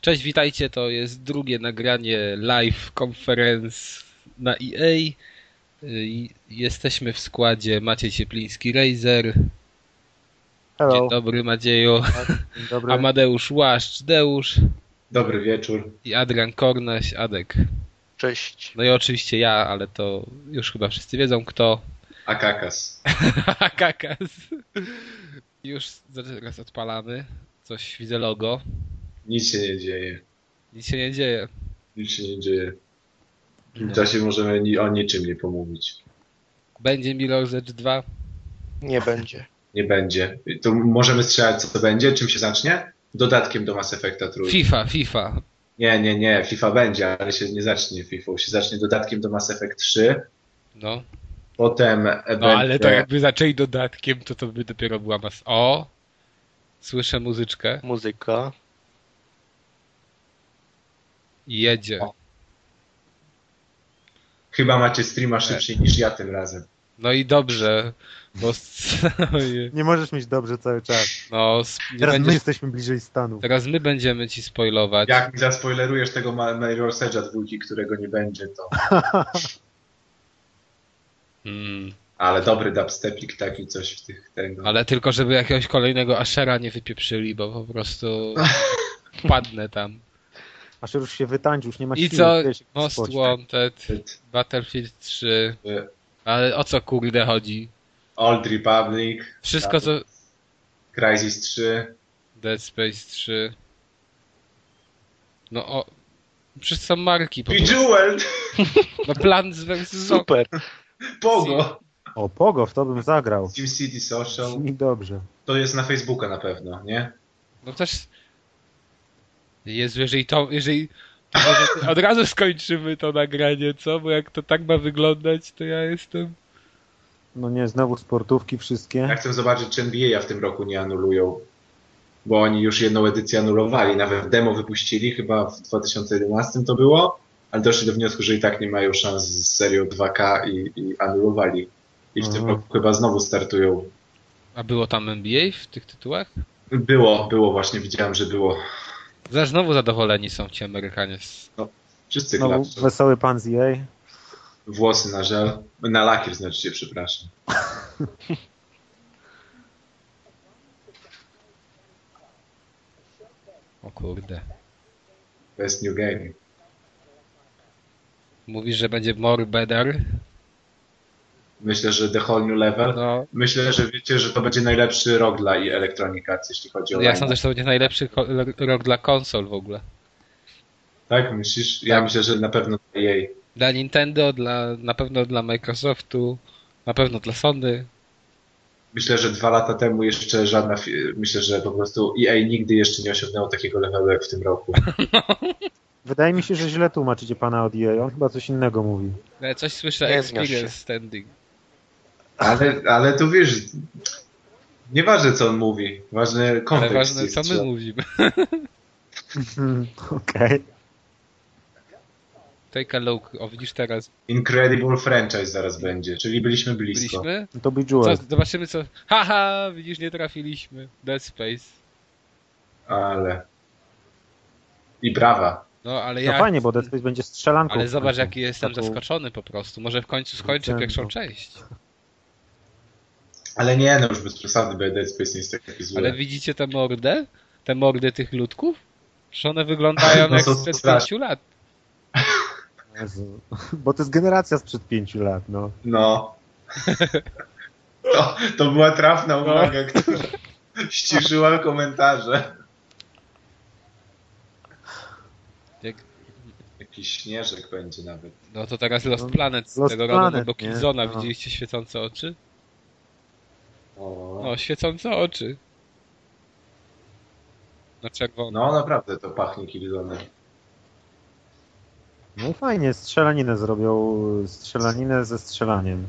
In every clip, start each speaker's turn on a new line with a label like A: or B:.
A: Cześć, witajcie. To jest drugie nagranie live conference na EA. Y, Jesteśmy w składzie Maciej Ciepliński Razer. Dzień
B: Hello,
A: dobry Macieju.
B: dzień dobry.
A: Amadeusz Łaszcz Deusz
C: Dobry wieczór.
A: i Adrian Kornaś Adek.
B: Cześć.
A: No i oczywiście ja, ale to już chyba wszyscy wiedzą kto.
C: Akakas.
A: Kakas. Już zaraz odpalamy. Coś widzę logo.
C: Nic się nie dzieje.
A: Nic się nie dzieje.
C: Nic się nie dzieje. W tym czasie możemy ni- o niczym nie pomówić.
A: Będzie Mirror's Edge 2.
B: Nie będzie.
C: Nie będzie. To możemy strzelać, co to będzie, czym się zacznie? Dodatkiem do Mass Effecta trójki.
A: FIFA, FIFA.
C: Nie, nie, nie. FIFA będzie, ale się nie zacznie FIFA. Się zacznie dodatkiem do Mass Effect 3.
A: No.
C: Potem no,
A: No
C: będzie...
A: ale to jakby zaczęli dodatkiem, to to by dopiero była mas. O! Słyszę muzyczkę.
B: Muzyka.
A: i Jedzie.
C: Chyba macie streama szybciej niż ja tym razem.
A: No i dobrze, bo s-
B: Nie możesz mieć dobrze cały czas.
A: no, s- nie
B: Teraz my
A: będziesz,
B: jesteśmy bliżej Stanów.
A: teraz my będziemy ci spoilować.
C: Jak mi zaspoilerujesz tego Ma- Major Sedge'a dwójki, którego nie będzie, to...
A: Mm.
C: Ale dobry dubstepik taki, coś w tych tego.
A: Ale tylko, żeby jakiegoś kolejnego Ashera nie wypieprzyli, bo po prostu padnę tam.
B: Aż już się wytańczy, już nie ma
A: I
B: siły.
A: co? No,
B: tyle się
A: Most
B: spocić.
A: Wanted, Battlefield 3,
C: Y.
A: ale o co kurde chodzi?
C: Old Republic.
A: Wszystko co...
C: Crysis 3.
A: Dead Space 3. No o... Przecież są marki po prostu.
C: Bejeweled!
A: No Plants vs. Zombies.
B: Super.
C: Pogo!
B: O, Pogo, w to bym zagrał.
C: SimCity Social.
B: Brzmi dobrze.
C: To jest na Facebooka na pewno, nie?
A: No też... Jezu, jeżeli to... Jeżeli... Może od razu skończymy to nagranie, co? Bo jak to tak ma wyglądać, to ja jestem...
B: No nie, znowu sportówki
C: Ja
B: wszystkie.
C: chcę zobaczyć, czy NBA w tym roku nie anulują. Bo oni już jedną edycję anulowali. Nawet demo wypuścili, chyba w 2011 to było. Ale doszli do wniosku, że i tak nie mają szans z serią 2K i, i anulowali. I w tym
B: Mhm.
C: roku chyba znowu startują.
A: A było tam NBA w tych tytułach?
C: Było, było właśnie, widziałem, że było.
A: Zaraz znowu zadowoleni są ci Amerykanie. z-
C: Wszyscy
B: Znowu
C: klaszczą.
B: wesoły pan z E EA.
C: Włosy na żel. Na lakier znaczy się, przepraszam.
A: O kurde.
C: To jest New Game.
A: Mówisz, że będzie more better?
C: Myślę, że The Whole New Level.
A: No.
C: Myślę, że wiecie, że to będzie najlepszy rok dla i Electronic Arts, jeśli chodzi o
A: Ja
C: line-up.
A: sądzę, że to będzie najlepszy ko- rok dla konsol w ogóle.
C: Tak, myślisz? Ja
A: Tak.
C: myślę, że na pewno dla E EA.
A: Dla Nintendo, dla, na pewno dla Microsoftu, na pewno dla Sony.
C: Myślę, że dwa lata temu jeszcze żadna, fi- myślę, że po prostu EA nigdy jeszcze nie osiągnęło takiego levelu jak w tym roku.
B: Wydaje mi się, że źle tłumaczycie pana od EA. On chyba coś innego mówi.
A: Ale No, coś słyszę,
B: Nie zmiesz
A: Experience
B: się.
A: Standing.
C: Ale, ale tu wiesz, nieważne co on mówi, ważny
B: No,
A: Ale
C: kontekst.
A: ważne,
C: jest,
A: co my
C: że-
A: mówimy.
B: Hmm, Okej.
A: Take a look. O, widzisz teraz.
C: Incredible franchise zaraz będzie, czyli byliśmy blisko.
A: Byliśmy?
B: No
A: Co,
B: To Bejeweled.
A: zobaczymy co... Haha, widzisz, nie trafiliśmy. Dead Space.
C: Ale... I brawa.
A: No, ale
B: No
A: ja...
B: fajnie, bo Dead Space będzie strzelanką.
A: ale
B: w
A: zobacz,
B: końcu.
A: jaki jestem
B: Taką-
A: zaskoczony po prostu. Może w końcu skończę
B: Nintendo.
A: pierwszą część. Ale
C: Ale nie, no już bez przesady, bo Dead Space nie jest taki zły.
A: widzicie te mordę? Te mordy tych ludków? Że one wyglądają
C: No
A: jak
C: są
A: sprzed
C: straszne.
A: pięciu lat.
B: Jezu. Bo to jest generacja sprzed pięciu lat, no.
C: No. To, to była trafna
A: No.
C: uwaga, która ściszyła komentarze.
A: Jak
C: Jakiś śnieżek będzie nawet.
A: No to teraz
B: No,
A: Lost Planet z
B: Lost
A: tego
B: Planet,
A: rodu, bo
B: nie?
A: Killzona
B: No.
A: widzieliście świecące oczy?
C: O.
A: No, świecące oczy. No czerwono.
C: No naprawdę to pachnie Killzonem.
B: No i fajnie, strzelaninę zrobią, strzelaninę ze strzelaniem.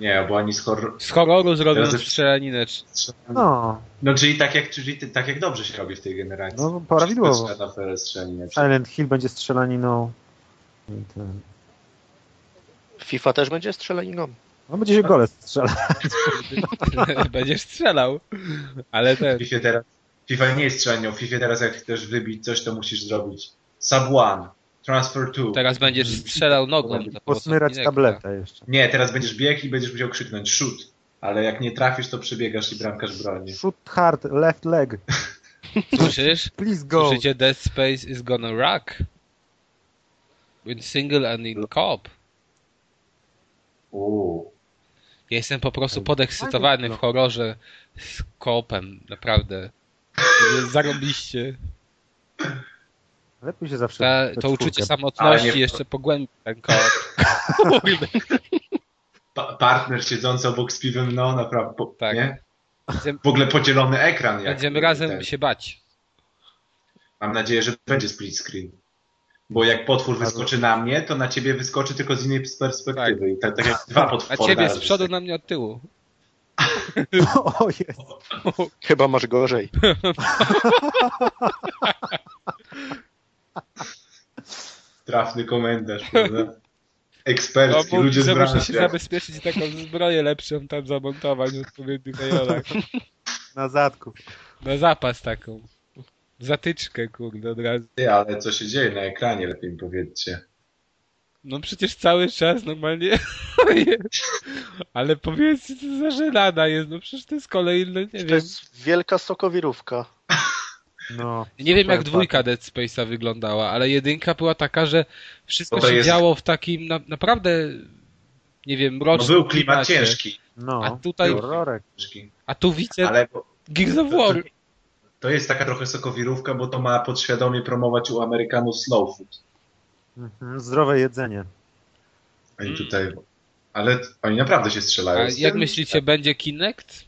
C: Nie, bo oni z horror...
A: Z horroru zrobią
C: Teraz-
A: strzelaninę. czy-
B: No,
C: No czyli tak jak, czyli ty- tak jak dobrze się robi w tej generacji.
B: no prawidłowo.
C: Trzeba na PRL strzelanie.
B: Silent Hill będzie strzelaniną. No I ten-
D: FIFA też będzie strzelaniną.
B: No będzie się
A: Tak.
B: gole strzelać.
A: Będziesz strzelał. Ale ten,
C: FIFA teraz, FIFA nie jest strzelaniną. W FIFA teraz jak chcesz wybić coś, to musisz zrobić sub one, transfer two.
A: Teraz będziesz strzelał nogą. do
B: Posmyrać
A: osobnika.
B: tabletę jeszcze.
C: Nie, teraz będziesz biegł i będziesz musiał krzyknąć shoot. Ale jak nie trafisz, to przebiegasz i bramkarz broni.
B: Shoot hard, left leg.
A: Słyszysz?
B: Please go.
A: Słyszycie? Dead Space is gonna rock. In single and in co-op.
C: Uuu.
A: Ja jestem po prostu podekscytowany w horrorze z koopem, naprawdę. Zarobiście.
B: Lepiej się zawsze.
A: Ta,
B: we
A: to uczucie
B: czwórkę.
C: Ale
A: samotności
C: nie-
A: jeszcze pogłębi ten koop.
C: Pa- partner siedzący obok z piwem, no naprawdę. Po,
A: Tak.
C: nie?
A: Będziemy,
C: W ogóle podzielony ekran. Jak
A: będziemy razem
C: ten.
A: się bać.
C: Mam nadzieję, że będzie split screen. Bo jak potwór wyskoczy na mnie, to na ciebie wyskoczy tylko z innej perspektywy. I tak, tak jak dwa
A: A
C: potwory.
A: ciebie z
C: razem.
A: przodu, na mnie od tyłu.
B: O jest.
D: Chyba masz gorzej.
C: Trafny komentarz. prawda? Ekspercki,
A: No,
C: ludzie
A: ludzie
C: z
A: że muszę się
C: branży.
A: zabezpieczyć taką zbroję lepszą tam zamontować w odpowiednich rejonach.
B: Na zadku.
A: Na zapas taką. Zatyczkę, kurde, od razu.
C: Ty, ale co się dzieje na ekranie, lepiej mi powiedzcie.
A: No przecież cały czas normalnie. Ale powiedzcie, co za żenada jest. No przecież to jest kolejne, nie
D: To
A: wiem.
D: jest wielka sokowirówka.
B: No.
A: Nie wiem, jak
B: Super,
A: dwójka Dead Space'a wyglądała, ale jedynka była taka, że wszystko
C: No to
A: się
C: jest-
A: działo w takim na, naprawdę, nie wiem,
C: No
A: mrocznym
C: był klimat
A: klimacie.
C: ciężki.
B: No.
A: A tutaj-
B: Horrorek.
C: ciężki.
A: A tu widzę
C: Ale bo-
A: Gears of War.
C: to jest taka trochę sokowirówka, bo to ma podświadomie promować u Amerykanów slow food.
B: Mhm, zdrowe jedzenie.
C: Oni
A: Mm.
C: tutaj... Ale t- oni naprawdę się strzelają.
A: A
C: Z
A: jak
C: tym-
B: Tak.
A: myślicie, będzie Kinect?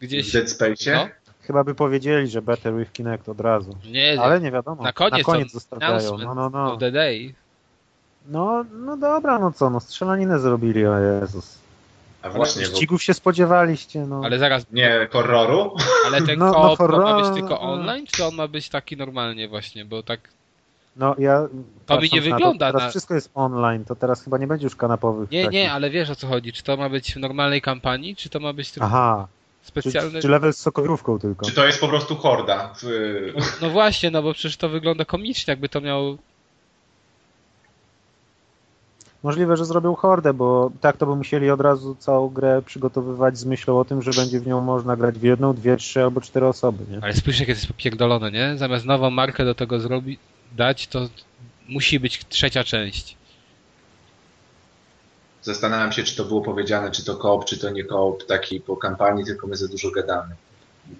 A: Gdzieś...
C: W Dead Space'ie?
A: No.
B: Chyba by powiedzieli, że better with Kinect od razu.
A: Nie,
B: Ale nie wiadomo.
A: Na koniec
B: na koniec
A: on-
B: zostawiają.
A: announcement
B: No, no, no.
A: of the day.
B: No, no dobra, no co, no strzelaninę zrobili, o Jezus.
C: A właśnie, bo...
B: Ścigów się spodziewaliście, no.
A: Ale zaraz,
C: Nie, horroru?
A: ale ten
B: No, no
A: koop to ma
B: horror-
A: być tylko online, czy on ma być taki normalnie właśnie, bo tak...
B: No ja. patrząc
A: nie
B: na
A: wygląda
B: To, teraz
A: na-
B: wszystko jest online, to teraz chyba nie będzie już kanapowych.
A: Nie,
B: takich.
A: nie, ale wiesz o co chodzi. Czy to ma być w normalnej kampanii, czy to ma być tylko
B: Aha. Czy,
A: specjalny...
B: czy level z sokorówką tylko?
C: Czy to jest po prostu horda? W-
A: No właśnie, no bo przecież to wygląda komicznie, jakby to miał...
B: Możliwe, że zrobił hordę, bo tak to by musieli od razu całą grę przygotowywać z myślą o tym, że będzie w nią można grać w jedną, dwie, trzy albo cztery osoby, nie?
A: Ale spójrz, jak jest popierdolone, nie? Zamiast nową markę do tego zrobić, dać, to musi być trzecia część.
C: Zastanawiam się, czy to było powiedziane, czy to koop, czy to nie koop taki po kampanii, tylko my za dużo gadamy.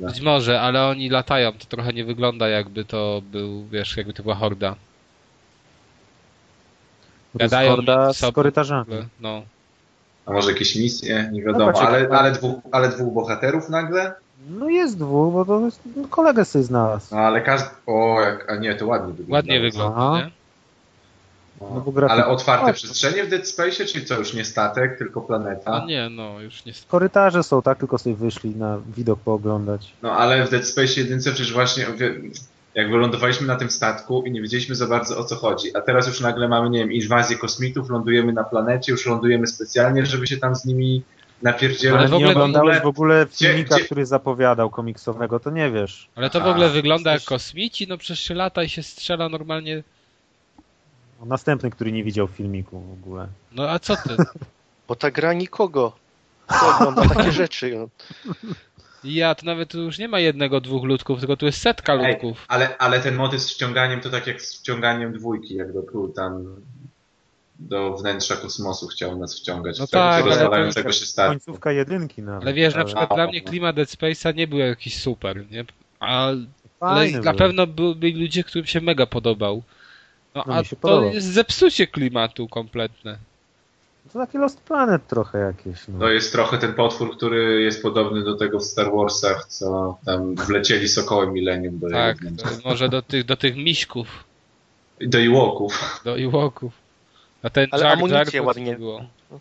C: No.
A: Być może, ale oni latają, to trochę nie wygląda jakby to był, wiesz, jakby to była horda.
B: Bo to jest
A: gadają
B: horda
A: między
B: z
A: sobą.
B: korytarzami.
A: No.
C: A może jakieś misje? Nie
B: No,
C: wiadomo,
B: patrz,
C: ale,
B: tak.
C: ale, dwóch, ale dwóch bohaterów nagle?
B: No jest dwóch, bo to jest, no, kolegę sobie znalazł.
C: No ale każdy... O, jak... a nie, to ładnie wygląda.
A: Ładnie
B: Aha.
A: wygląda, nie?
B: No bo
C: No.
B: grafika-
C: Ale otwarte
B: O.
C: przestrzenie w Dead Space, czyli co, już nie statek, tylko planeta?
B: Tak.
A: No nie, no, już niestety.
B: Korytarze są, tak? Tylko sobie wyszli na widok pooglądać.
C: No ale w Dead Space 1 przecież właśnie wie- jak wylądowaliśmy na tym statku i nie wiedzieliśmy za bardzo o co chodzi, a teraz już nagle mamy, nie wiem, inwazję kosmitów, lądujemy na planecie, już lądujemy specjalnie, żeby się tam z nimi napierdzielać.
A: Ale
B: Ale
A: w ogóle-
B: nie oglądałeś w ogóle
C: Gdzie-
B: filmika,
C: gdzie-
B: który zapowiadał komiksowego, to nie wiesz.
A: Ale to w
C: Aha,
A: ogóle wygląda jak
C: jesteś-
A: kosmici, no przecież się lata i się strzela normalnie.
B: Następny, który nie widział filmiku w ogóle.
A: No a co ty?
D: Bo ta gra nikogo. Kto ogląda takie rzeczy? No.
A: Ja, to nawet tu już nie ma jednego, dwóch ludków, tylko tu jest setka
C: Ej,
A: ludków.
C: ale, ale ten motyw z wciąganiem to tak jak z wciąganiem dwójki, jak do król tam do wnętrza kosmosu chciał nas wciągać.
A: No
C: w trakcie
A: tak, ale to
C: rozwalającego się
A: Tak.
C: statku.
B: Końcówka jedynki nawet.
A: Ale wiesz, na przykład
C: A,
A: dla mnie
C: no.
A: klimat Dead Space'a nie był jakiś super, nie? A, ale
B: Fajny
A: na
B: był.
A: pewno byli ludzie, którym się mega podobał. No,
B: No,
A: a
B: mi się
A: to
B: podobał.
A: jest zepsucie klimatu kompletne.
B: To taki Lost Planet trochę jakieś. No.
C: To jest trochę ten potwór, który jest podobny do tego w Star Warsach, co tam wlecieli sokoły milenium do
A: Tak,
C: jego wnętrza.
A: to może do tych, do tych miśków,
C: I Do Iłoków.
A: do iłoków. No A ten
D: Ale
A: Jar
D: amunicję
A: Jar, to co
D: ładnie-
A: Było.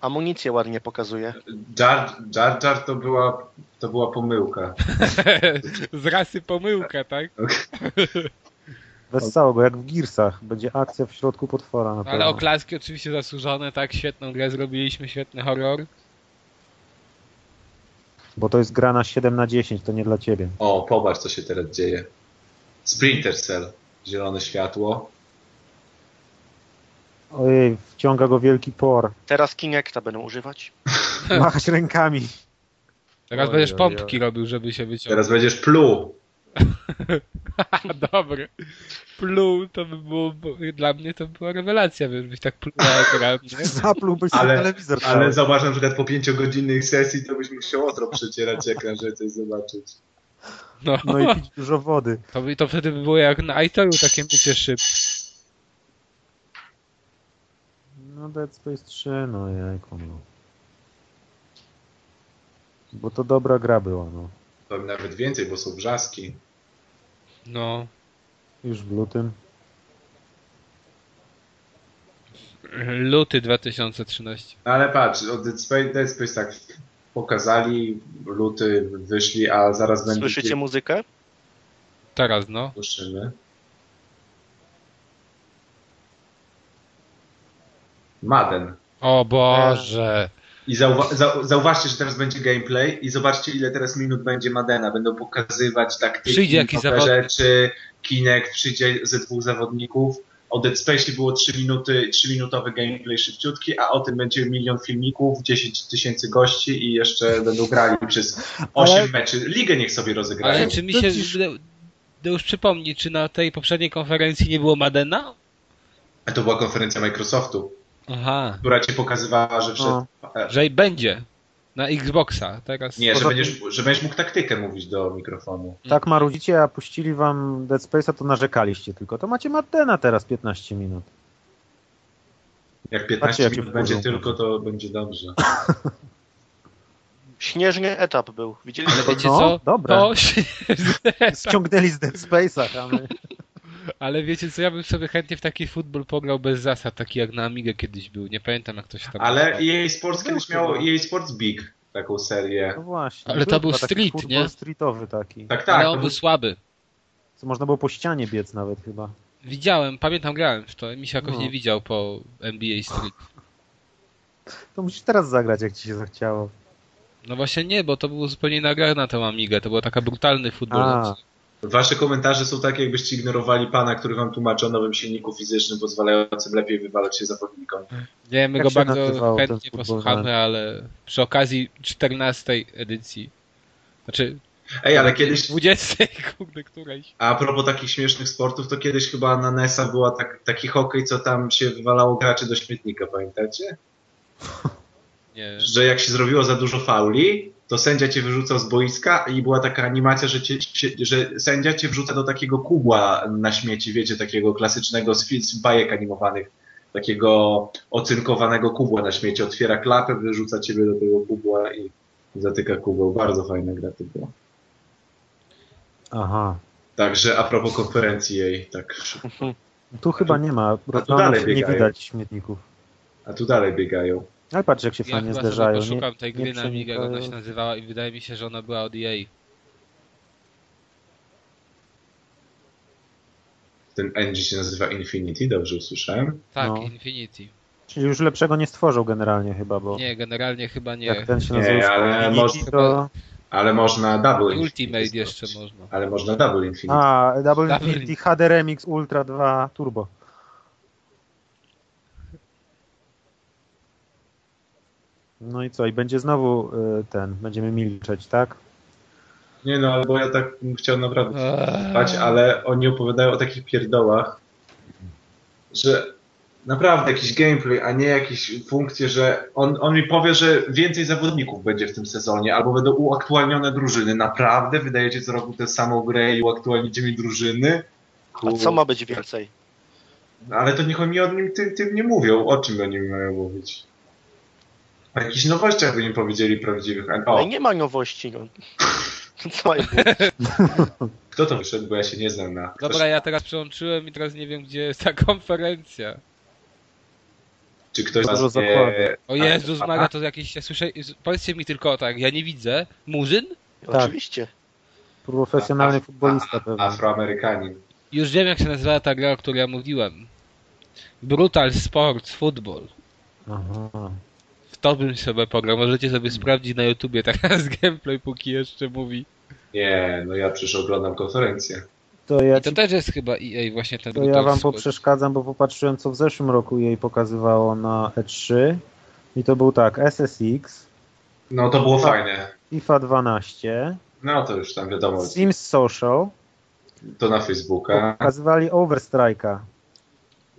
D: Amunicję ładnie pokazuje.
C: Jar, Jar Jar to była, to była pomyłka.
A: Z rasy pomyłka, tak?
B: Bez całego, jak w Gearsach. Będzie akcja w środku potwora na pewno.
A: Ale oklaski oczywiście zasłużone, tak? Świetną grę zrobiliśmy, świetny horror.
B: Bo to jest gra na 7 na 10, to nie dla ciebie.
C: O, popatrz co się teraz dzieje. Splinter Cell. Zielone światło.
B: Ojej, wciąga go wielki por.
D: Teraz Kinecta będą używać.
B: Machać rękami.
A: Teraz
E: Oj,
A: będziesz
E: oj,
A: pompki robił, żeby się wyciągnąć.
C: Teraz będziesz pluł.
A: Dobry. Pluł, to by było, bo dla mnie to była rewelacja, wiesz, byś tak pluł na ekran, nie?
B: Zaplułbyś
C: Ale-
B: ale, telewizor.
C: Ale
B: cały.
C: zobacz na przykład po pięciogodzinnej sesji to byś musiał ostro przecierać ekran, żeby coś zobaczyć.
A: No,
B: No i pić dużo wody.
A: to, by, to wtedy by było jak na iToru, takie mycie szyb.
B: No Dead Space 3, no jajku no. Bo to dobra gra była, no.
C: Powiem nawet więcej, bo są wrzaski.
A: No,
B: Już w lutym.
A: luty 2013.
C: Ale patrz, o Dead Space, Dead Space tak pokazali, luty wyszli, a zaraz będzie...
D: Słyszycie muzykę?
A: Teraz, no.
C: Słyszymy. Madden.
A: O Boże.
C: I zauwa- zau- zauważcie, że teraz będzie gameplay i zobaczcie, ile teraz minut będzie Madena. Będą pokazywać taktyki,
A: Przyjdzie jakiś
C: nowe
A: zawod-
C: rzeczy, Kinect przyjdzie ze dwóch zawodników. O Dead Space było 3 minuty, 3 minutowy gameplay szybciutki, a o tym będzie milion filmików, 10 tysięcy gości i jeszcze będą grali przez 8
B: Ale-
C: meczy. Ligę niech sobie rozegrają.
A: Ale czy mi się... To już przypomni, czy na tej poprzedniej konferencji nie było Madena?
C: A to była konferencja Microsoftu,
A: Aha,
C: która ci pokazywała, że przez...
B: No.
A: że i będzie. Na Xboxa, teraz.
C: Nie, że
B: Poza
C: będziesz, że będziesz mógł taktykę mówić do mikrofonu.
B: Tak marudzicie, a puścili wam Dead Space'a, to narzekaliście tylko. To macie Martena teraz 15 minut.
C: Jak
B: Patrzcie,
C: 15
B: jakie
C: minut będzie
B: wkurzą.
C: tylko, to będzie dobrze.
D: Śnieżny etap był. Widzieliście?
A: Ale wiecie
B: No,
A: co?
B: dobra.
A: To się...
B: Ściągnęli z Dead Space'a. rany.
A: Ale wiecie co, ja bym sobie chętnie w taki futbol pograł bez zasad, taki jak na Amigę kiedyś był. Nie pamiętam jak to się tam
C: Ale
A: nazywa.
C: EA Sports kiedyś
B: Tak. Był
C: miało
B: chyba.
C: EA Sports Big, taką serię.
B: No właśnie.
A: Ale to był
B: chyba taki
A: street,
B: futbol
A: nie?
B: streetowy taki.
C: Tak, tak.
A: Ale on był słaby.
B: Co można było po ścianie biec nawet chyba.
A: Widziałem, pamiętam, grałem w to. Mi się jakoś
B: No.
A: nie widział po NBA Street.
B: To musisz teraz zagrać, jak ci się zachciało.
A: No właśnie nie, bo to było zupełnie inna gra na tą Amigę. To był taki brutalny futbol.
B: A.
C: Wasze komentarze są takie, jakbyście ignorowali pana, który wam tłumaczy o nowym silniku fizycznym pozwalającym lepiej wywalać się zawodnikom.
A: Nie, my
B: Jak
A: go
B: się
A: bardzo
B: nazywało ten
A: chętnie
B: futbol,
A: posłuchamy, ale przy okazji 14 edycji. Znaczy,
C: Ej, ale kiedyś,
A: 20, kurde, którejś.
C: a propos takich śmiesznych sportów, to kiedyś chyba na NES-a była tak, taki hokej, co tam się wywalało graczy do śmietnika, pamiętacie?
A: Nie.
C: Że jak się zrobiło za dużo fauli, to sędzia cię wyrzucał z boiska i była taka animacja, że, cię, cię, że sędzia cię wrzuca do takiego kubła na śmieci, wiecie, takiego klasycznego z, fi- z bajek animowanych, takiego ocynkowanego kubła na śmieci. Otwiera klapę, wyrzuca ciebie do tego kubła i zatyka kubeł. Bardzo fajna gra to była.
B: Aha.
C: Także a propos konferencji jej, tak.
B: Tu chyba nie ma.
C: dalej
B: Reklamów nie
C: biegają.
B: widać śmietników.
C: A tu dalej biegają.
B: Ale patrz, jak się
A: Ja
B: fajnie
A: chyba
B: zderzają.
A: sobie poszukam tej gry na Amigę, jak ona się
B: przenikają.
A: nazywała i wydaje mi się, że ona była od EA.
C: Ten engine się nazywa Infinity, dobrze usłyszałem.
A: Tak,
B: No.
A: Infinity.
B: Czyli już lepszego nie stworzą generalnie chyba, bo
A: Nie, generalnie chyba nie.
B: jak ten się
C: Nie,
B: nazywa
C: ale
B: Infinity,
C: może-
B: to...
C: Ale można Double
A: I
C: Infinity
A: Ultimate jeszcze
C: zrobić.
A: można.
C: Ale można Double Infinity.
B: A, Double
A: Double
B: Infinity HD Remix Ultra 2 Turbo. No i co? I będzie znowu y, ten, będziemy milczeć, tak?
C: Nie no, ale bo ja tak bym chciał naprawdę
A: E,
C: spać, ale oni opowiadają o takich pierdołach, że naprawdę jakiś gameplay, a nie jakieś funkcje, że on, on mi powie, że więcej zawodników będzie w tym sezonie, albo będą uaktualnione drużyny. Naprawdę wydajecie co roku tę samą grę i uaktualnicie mi drużyny?
D: A
C: Kur-
D: co ma być więcej?
C: Ale to niech oni o nim tym, tym nie mówią. O czym oni mają mówić? O jakichś nowościach by im powiedzieli prawdziwych. A-
D: Ale
C: O,
D: nie ma nowości. No. Co mają
A: Tak.
D: mówić?
C: kto to wyszedł, bo ja się nie znam na...
A: Dobra, ja teraz przełączyłem i teraz nie wiem, gdzie jest ta konferencja.
C: Czy ktoś was
B: Dużo
C: nie...
B: zakładów.
A: O
C: A-
A: Jezus Maria, to jakieś... Ja słyszę... Powiedzcie mi tylko tak, ja nie widzę. Murzyn?
D: Oczywiście.
B: Profesjonalny
C: A- a-
B: futbolista pewnie.
C: tak. Afroamerykanin.
A: Już wiem, jak się nazywała ta gra, o której ja mówiłem. Brutal Sports Football.
B: Aha.
A: W to bym sobie pograł. Możecie sobie
B: Hmm.
A: sprawdzić na YouTubie teraz gameplay, póki jeszcze mówi.
C: Nie, no ja przecież oglądam konferencję.
B: To ja,
A: I to
B: ci-
A: też jest chyba EA właśnie ten
B: to ja
A: brutal
B: wam
A: squad.
B: poprzeszkadzam, bo popatrzyłem, co w zeszłym roku jej pokazywało na E3. I to był tak, SSX,
C: No to było fajne.
B: FIFA 12,
C: No to już tam wiadomo,
B: Sims Social,
C: to na Facebooka,
B: pokazywali Overstrike'a.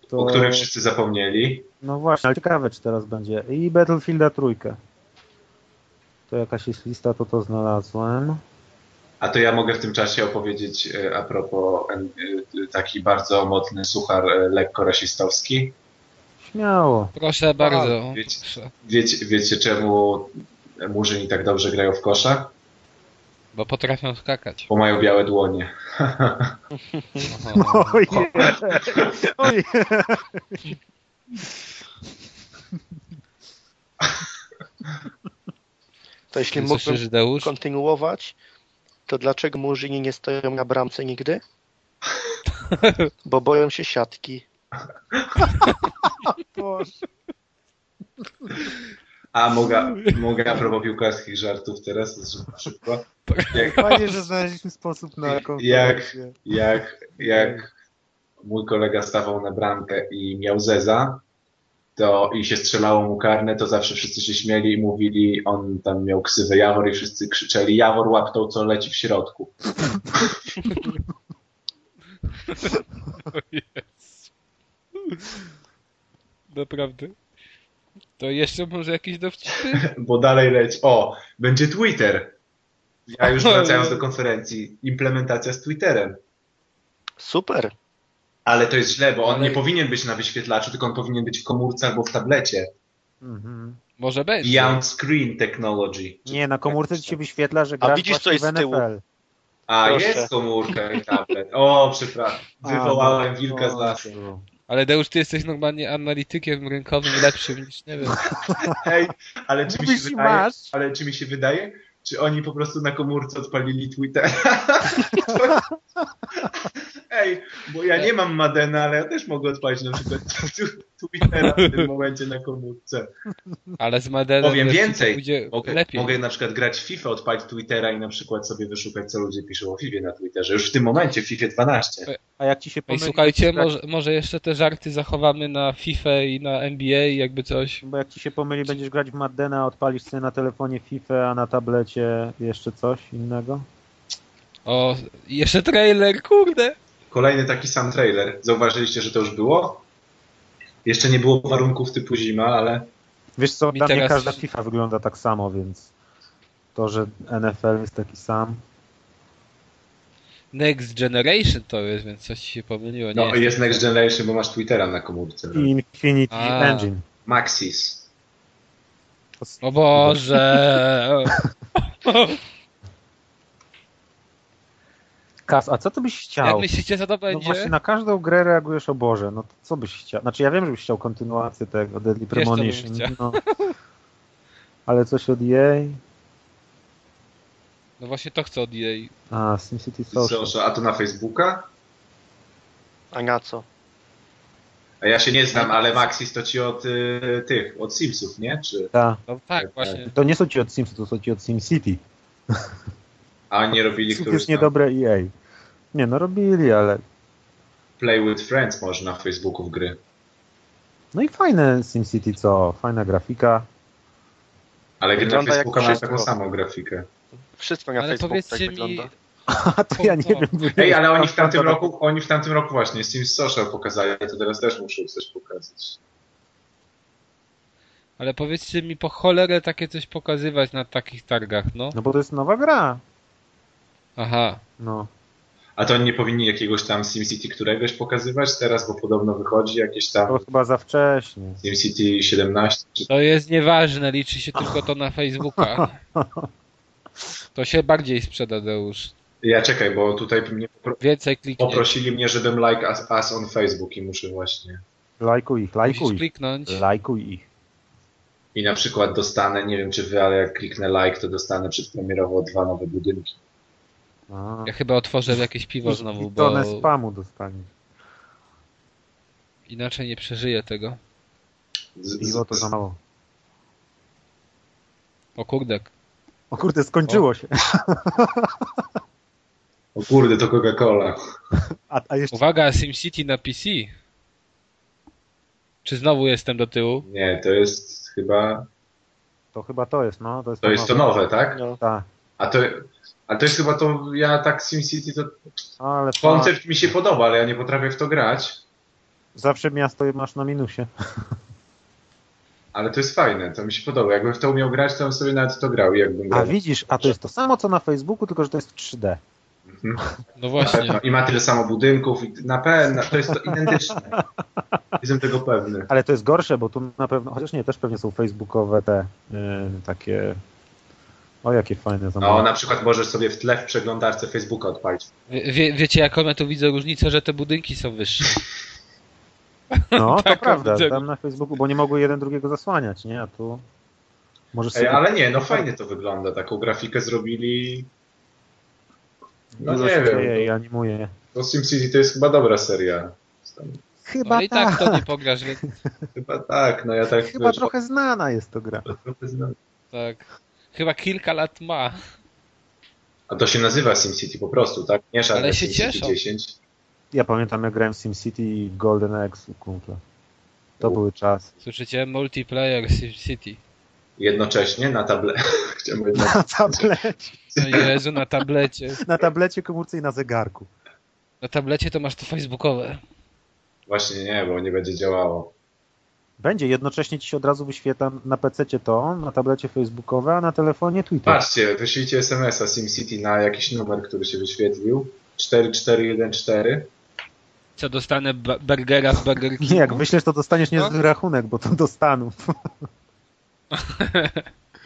C: Tak. o którym wszyscy zapomnieli.
B: No właśnie, ale ciekawe czy teraz będzie. I Battlefielda trójkę. To jakaś jest lista, to to znalazłem.
C: A to ja mogę w tym czasie opowiedzieć e, a propos em, e, taki bardzo mocny suchar e, lekko rasistowski.
B: Śmiało.
A: Proszę bardzo.
C: Tak, wiecie-
A: Proszę.
C: Wiecie, wiecie czemu murzyni tak dobrze grają w kosza?
A: Bo potrafią skakać.
C: Bo mają białe dłonie.
B: No,
A: Oho.
B: Ojej. Ojej.
D: To jeśli
A: Ty
D: mógłbym
A: słyszysz, Deusz?
D: kontynuować, to dlaczego murzyni nie stoją na bramce nigdy? Bo boją się siatki.
B: Boże.
C: A mogę, mogę a propos piłkarskich żartów teraz szybko. Jak,
B: Fajnie, że znaleźliśmy sposób na konferencję.
C: jak, jak mój kolega stawał na bramkę i miał zeza, to i się strzelało mu karne, to zawsze wszyscy się śmieli i mówili, on tam miał ksywę Jawor i wszyscy krzyczeli, Jawor łap to, co leci w środku.
A: Naprawdę. To jeszcze może jakieś dowcipy?
C: Bo dalej leci, o, będzie Twitter. Ja już wracając do konferencji, implementacja z Twitterem.
D: Super.
C: Ale to jest źle, bo on
A: Ale-
C: nie powinien być na wyświetlaczu, tylko on powinien być w komórce albo w tablecie.
B: Mhm.
A: Może będzie.
C: Beyond Screen Technology. Czy-
B: Nie, na komórce ci się wyświetla, że
D: A
B: grasz
D: widzisz, co
B: właśnie
D: jest
B: w
D: z tyłu?
B: NFL.
C: A,
D: Proszę.
C: jest komórka i tablet. O, przepraszam.
A: no,
C: Wywołałem wilka z
B: no,
C: lasu.
A: Ale Deusz, ty jesteś normalnie analitykiem rynkowym lepszym niż, nie wiem,
C: Hej, ale czy mi
B: Mówisz
C: się
B: i
C: wydaje?
B: masz.
C: Ale czy mi się wydaje? Czy oni po prostu na komórce odpalili Twitter? Ej, bo ja nie mam Madena, ale ja też mogę odpalić na przykład tu- Twittera w tym momencie na komórce.
A: ale z Madeną
C: Powiem
A: wiesz,
C: więcej.
A: ci Pójdzie
C: Mogę,
A: lepiej.
C: mogę na przykład grać w FIFA, odpalić Twittera i na przykład sobie wyszukać, co ludzie piszą o FIFA na Twitterze. Już w tym momencie w FIFA 12.
B: A jak ci się
A: Ej,
B: pomyli,
A: słuchajcie,
B: tak,
A: może, może jeszcze te żarty zachowamy na FIFA i na NBA, jakby coś.
B: Bo jak ci się pomyli, będziesz grać w Maddena, odpalisz sobie na telefonie FIFA, a na tablecie jeszcze coś innego?
A: O, i jeszcze trailer, kurde!
C: Kolejny taki sam trailer. Zauważyliście, że to już było? Jeszcze nie było warunków typu zima, ale
B: Wiesz co,
A: Mi
B: dla mnie
A: teraz-
B: każda FIFA wygląda tak samo, więc to, że NFL jest taki sam.
A: Next Generation to jest, więc coś ci się pomyliło.
C: no,
A: nie
C: jest Next Generation, bo masz Twittera na komórce.
B: I Infinity
A: A.
B: Engine.
C: Maxis.
B: To s-
A: O Boże!
B: Kas, a co ty byś
A: Jak
B: chciał?
A: myślicie, co to
B: No
A: będzie?
B: właśnie na każdą grę reagujesz, o Boże, no to co byś chciał? Znaczy ja wiem, żebyś chciał kontynuację tego Deadly
A: Wiesz, co bym
B: Premonition,
A: chciał.
B: no. ale coś od jej.
A: No właśnie to chcę od jej.
B: A, SimCity Social.
C: Social. A to na Facebooka?
D: A na co?
C: A ja się nie znam, ale Maxis to ci od y, tych, od Simsów, nie? Czy,
B: Ta.
A: No tak,
C: Tak,
A: właśnie.
B: To nie są ci od Sims, to są ci od SimCity.
C: a oni nie robili
B: To
C: któryś
B: jest
C: tam
B: niedobre EA. Nie, no robili, ale...
C: Play with Friends może na Facebooku w gry.
B: No i fajne SimCity, co? Fajna grafika.
C: Ale gry na
D: Wygląda jak
C: Facebooka mają taką
D: wszystko.
C: samą grafikę.
D: Wszystko na
A: Ale
D: Facebooku tak
A: powiedzcie mi,
D: wygląda.
B: A to ja nie
A: O, o.
B: wiem. bo
C: Ej,
B: nie-
C: ale oni w tamtym
B: to-
C: roku, oni w tamtym roku właśnie Sims Social pokazali, to teraz też muszą coś pokazać.
A: ale powiedzcie mi, po cholerę takie coś pokazywać na takich targach, no?
B: No bo to jest nowa gra.
A: Aha.
B: No.
C: A to oni nie powinni jakiegoś tam SimCity któregoś pokazywać teraz, bo podobno wychodzi jakieś tam
B: To chyba za wcześnie.
C: SimCity 17. Czy...
A: To jest nieważne, liczy się tylko to na Facebooka. To się bardziej sprzeda, Deusz.
C: Ja czekaj, bo tutaj mnie popro...
A: Więcej klikniesz.
C: poprosili mnie, żebym like as, as on Facebook i muszę właśnie.
B: Lajkuj ich,
A: Musisz
B: lajkuj.
A: kliknąć.
B: Lajkuj ich.
C: I na przykład dostanę, nie wiem czy wy, ale jak kliknę like, to dostanę przedpremierowo dwa nowe budynki.
B: A.
A: Ja chyba otworzę jakieś piwo znowu,
B: I tonę
A: bo
B: spamu dostanie.
A: inaczej nie przeżyję tego.
C: Z,
B: Piwo to za
C: z,
B: mało.
A: O kurde,
B: O kurde, skończyło się.
C: O kurde, to Coca-Cola.
B: A, a jeszcze
A: uwaga, SimCity na PC. Czy znowu jestem do tyłu?
C: Nie, to jest chyba.
B: to chyba to jest, no. To jest
C: To jest to nowe, tak?
D: No.
B: Tak.
C: A to, a to jest chyba to. Ja tak SimCity to.
B: No, Ale
C: Koncept mi się podoba, ale ja nie potrafię w to grać.
B: zawsze miasto masz na minusie.
C: Ale to jest fajne, to mi się podoba. Jakbym w to umiał grać, to bym sobie nawet w to grał, jakbym
B: A
C: grał.
B: widzisz, a to jest to samo co na Facebooku, tylko że to jest w 3D.
C: Mhm.
A: No
C: Na
A: właśnie.
C: pewno. I ma tyle samo budynków, i na pewno. To jest to identyczne. Jestem tego pewny.
B: Ale to jest gorsze, bo tu na pewno, chociaż nie, też pewnie są facebookowe te y, takie. O, jakie fajne
C: No,
B: zamówienia.
C: na przykład możesz sobie w tle w przeglądarce Facebooka odpalić.
A: Wie- Wie, wiecie, jaką ja tu widzę różnicę, że te budynki są wyższe.
B: No, to
C: Tak,
A: Taką
B: prawda,
A: widzę.
B: tam na Facebooku, bo nie mogły jeden drugiego zasłaniać, nie? A tu możesz
C: Ej,
B: sobie...
C: ale nie, no fajnie to wygląda. Taką grafikę zrobili. No
B: dużo
C: nie
B: się
C: wiem.
B: dzieje i animuje.
C: To No, SimCity to jest chyba dobra seria.
B: Chyba
A: Ale i
B: tak,
A: tak to nie pograsz, więc
C: Chyba tak, no ja tak.
B: chyba trochę znana jest to gra.
C: trochę znam.
A: tak. Chyba kilka lat ma.
C: A to się nazywa SimCity po prostu, tak? Nie żadne
A: Ale się
C: SimCity
A: cieszą.
C: 10.
B: Ja pamiętam, jak grałem w SimCity i w Golden Axe u kumpla. To
C: U.
B: były czasy.
A: Słyszycie? Multiplayer SimCity.
C: Jednocześnie na table. Chciałem powiedzieć,
B: Na tablecie,
A: No i Jezu, na tablecie.
B: na tablecie komórce i na zegarku.
A: Na tablecie to masz to facebookowe.
C: Właśnie nie, bo nie będzie działało.
B: Będzie, jednocześnie ci się od razu wyświetla na PC to, na tablecie facebookowe, a na telefonie Twitter.
C: Patrzcie, wyślijcie SMS-a SimCity na jakiś numer, który się wyświetlił. 4414.
A: Co dostanę ba- burgera z Burger Kingu?
B: Nie, jak myślisz, to
A: No.
B: dostaniesz niezły rachunek, bo to do Stanów.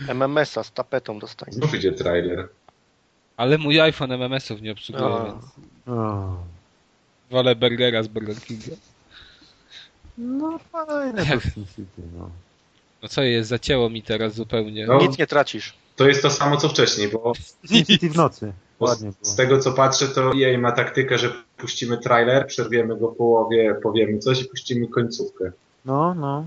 D: MMS-a z tapetą dostanie.
C: Znów idzie trailer.
A: Ale mój iPhone MMS-ów nie obsługuje,
D: A.
A: więc
B: O.
A: wolę burgera z Burger Kinga.
B: No fajne to SimCity, no.
A: No co jest, zacięło mi teraz zupełnie.
C: No.
D: Nic nie tracisz.
C: To jest to samo co wcześniej, bo
B: SimCity w nocy.
C: Bo
B: Ładnie
C: z,
B: było.
C: z tego co patrzę, to EA ma taktykę, że puścimy trailer, przerwiemy go w połowie, powiemy coś i puścimy końcówkę.
B: No, no.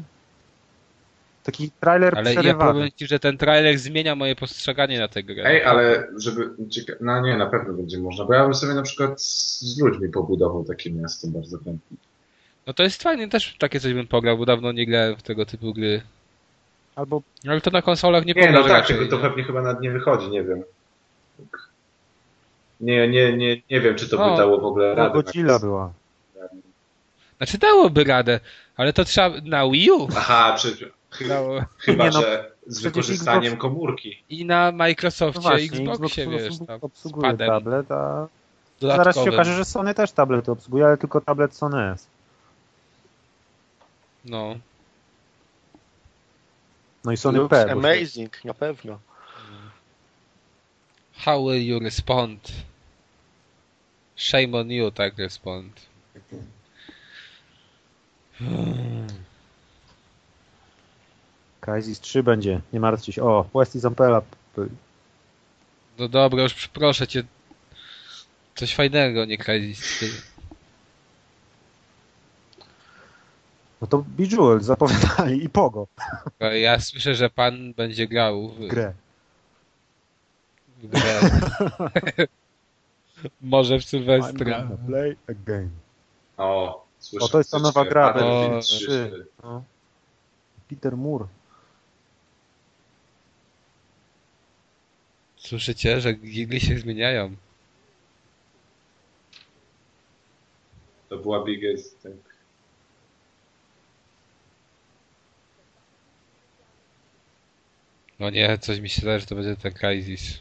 B: Taki trailer
A: Ale ja
B: przerywany.
A: powiem ci, że ten trailer zmienia moje postrzeganie na tę grę.
C: Ej, ale żeby. Cieka- no nie, na pewno będzie można, bo ja bym sobie na przykład z, z ludźmi pobudował takie miasto bardzo chętnie.
A: No to jest fajnie, też w takie coś bym pograł, bo dawno nie grałem w tego typu gry. No,
B: Albo
A: Ale to na konsolach nie
C: Nie,
A: pograsz
C: no tak,
A: raczej.
C: tylko to pewnie chyba nad nie wychodzi, nie wiem. Tak. Nie, nie, nie, nie wiem, czy to
A: O,
C: by dało w ogóle
A: tak.
B: no,
C: radę.
B: Godzilla była.
A: Znaczy dałoby radę, ale to trzeba na Wii U.
C: Aha, przy, chy,
A: Dało.
C: chyba,
B: Nie, no,
C: że z
B: przecież
C: wykorzystaniem
B: Xbox-
C: komórki.
A: I na
B: No
A: Microsoftie,
B: właśnie, Xbox
A: Xboxie, wiesz,
B: obsługuje-
A: tam,
B: obsługuje
A: z padem
B: tablet, a zaraz się
A: dodatkowym.
B: okaże, że Sony też tablet obsługuje, ale tylko tablet Sony S.
A: No.
B: No i Sony
D: Looks
B: P. bo się-
D: amazing, na pewno.
A: How will you respond? Shame on you, tak respond.
B: Crysis 3 będzie, nie martwcie się. O, West i Zampela.
A: No dobra, już przy- proszę cię. Coś fajnego, nie Crysis. Ty.
B: No to Bejeweled zapowiadali i Pogo
A: Ale Ja słyszę, że pan będzie grał w,
B: w grę.
A: w grę. Może w Sylwestra.
B: gonna play a game.
C: O, słyszę.
B: O, to jest ta nowa
C: troszeczkę.
B: gra,
C: Battlefield
A: o,
C: 3.
B: trzy. No. Peter Moore.
A: Słyszycie, że gry się zmieniają.
C: To była biggest. Tak.
A: No nie, coś mi się zdaje, że to będzie ten Crysis.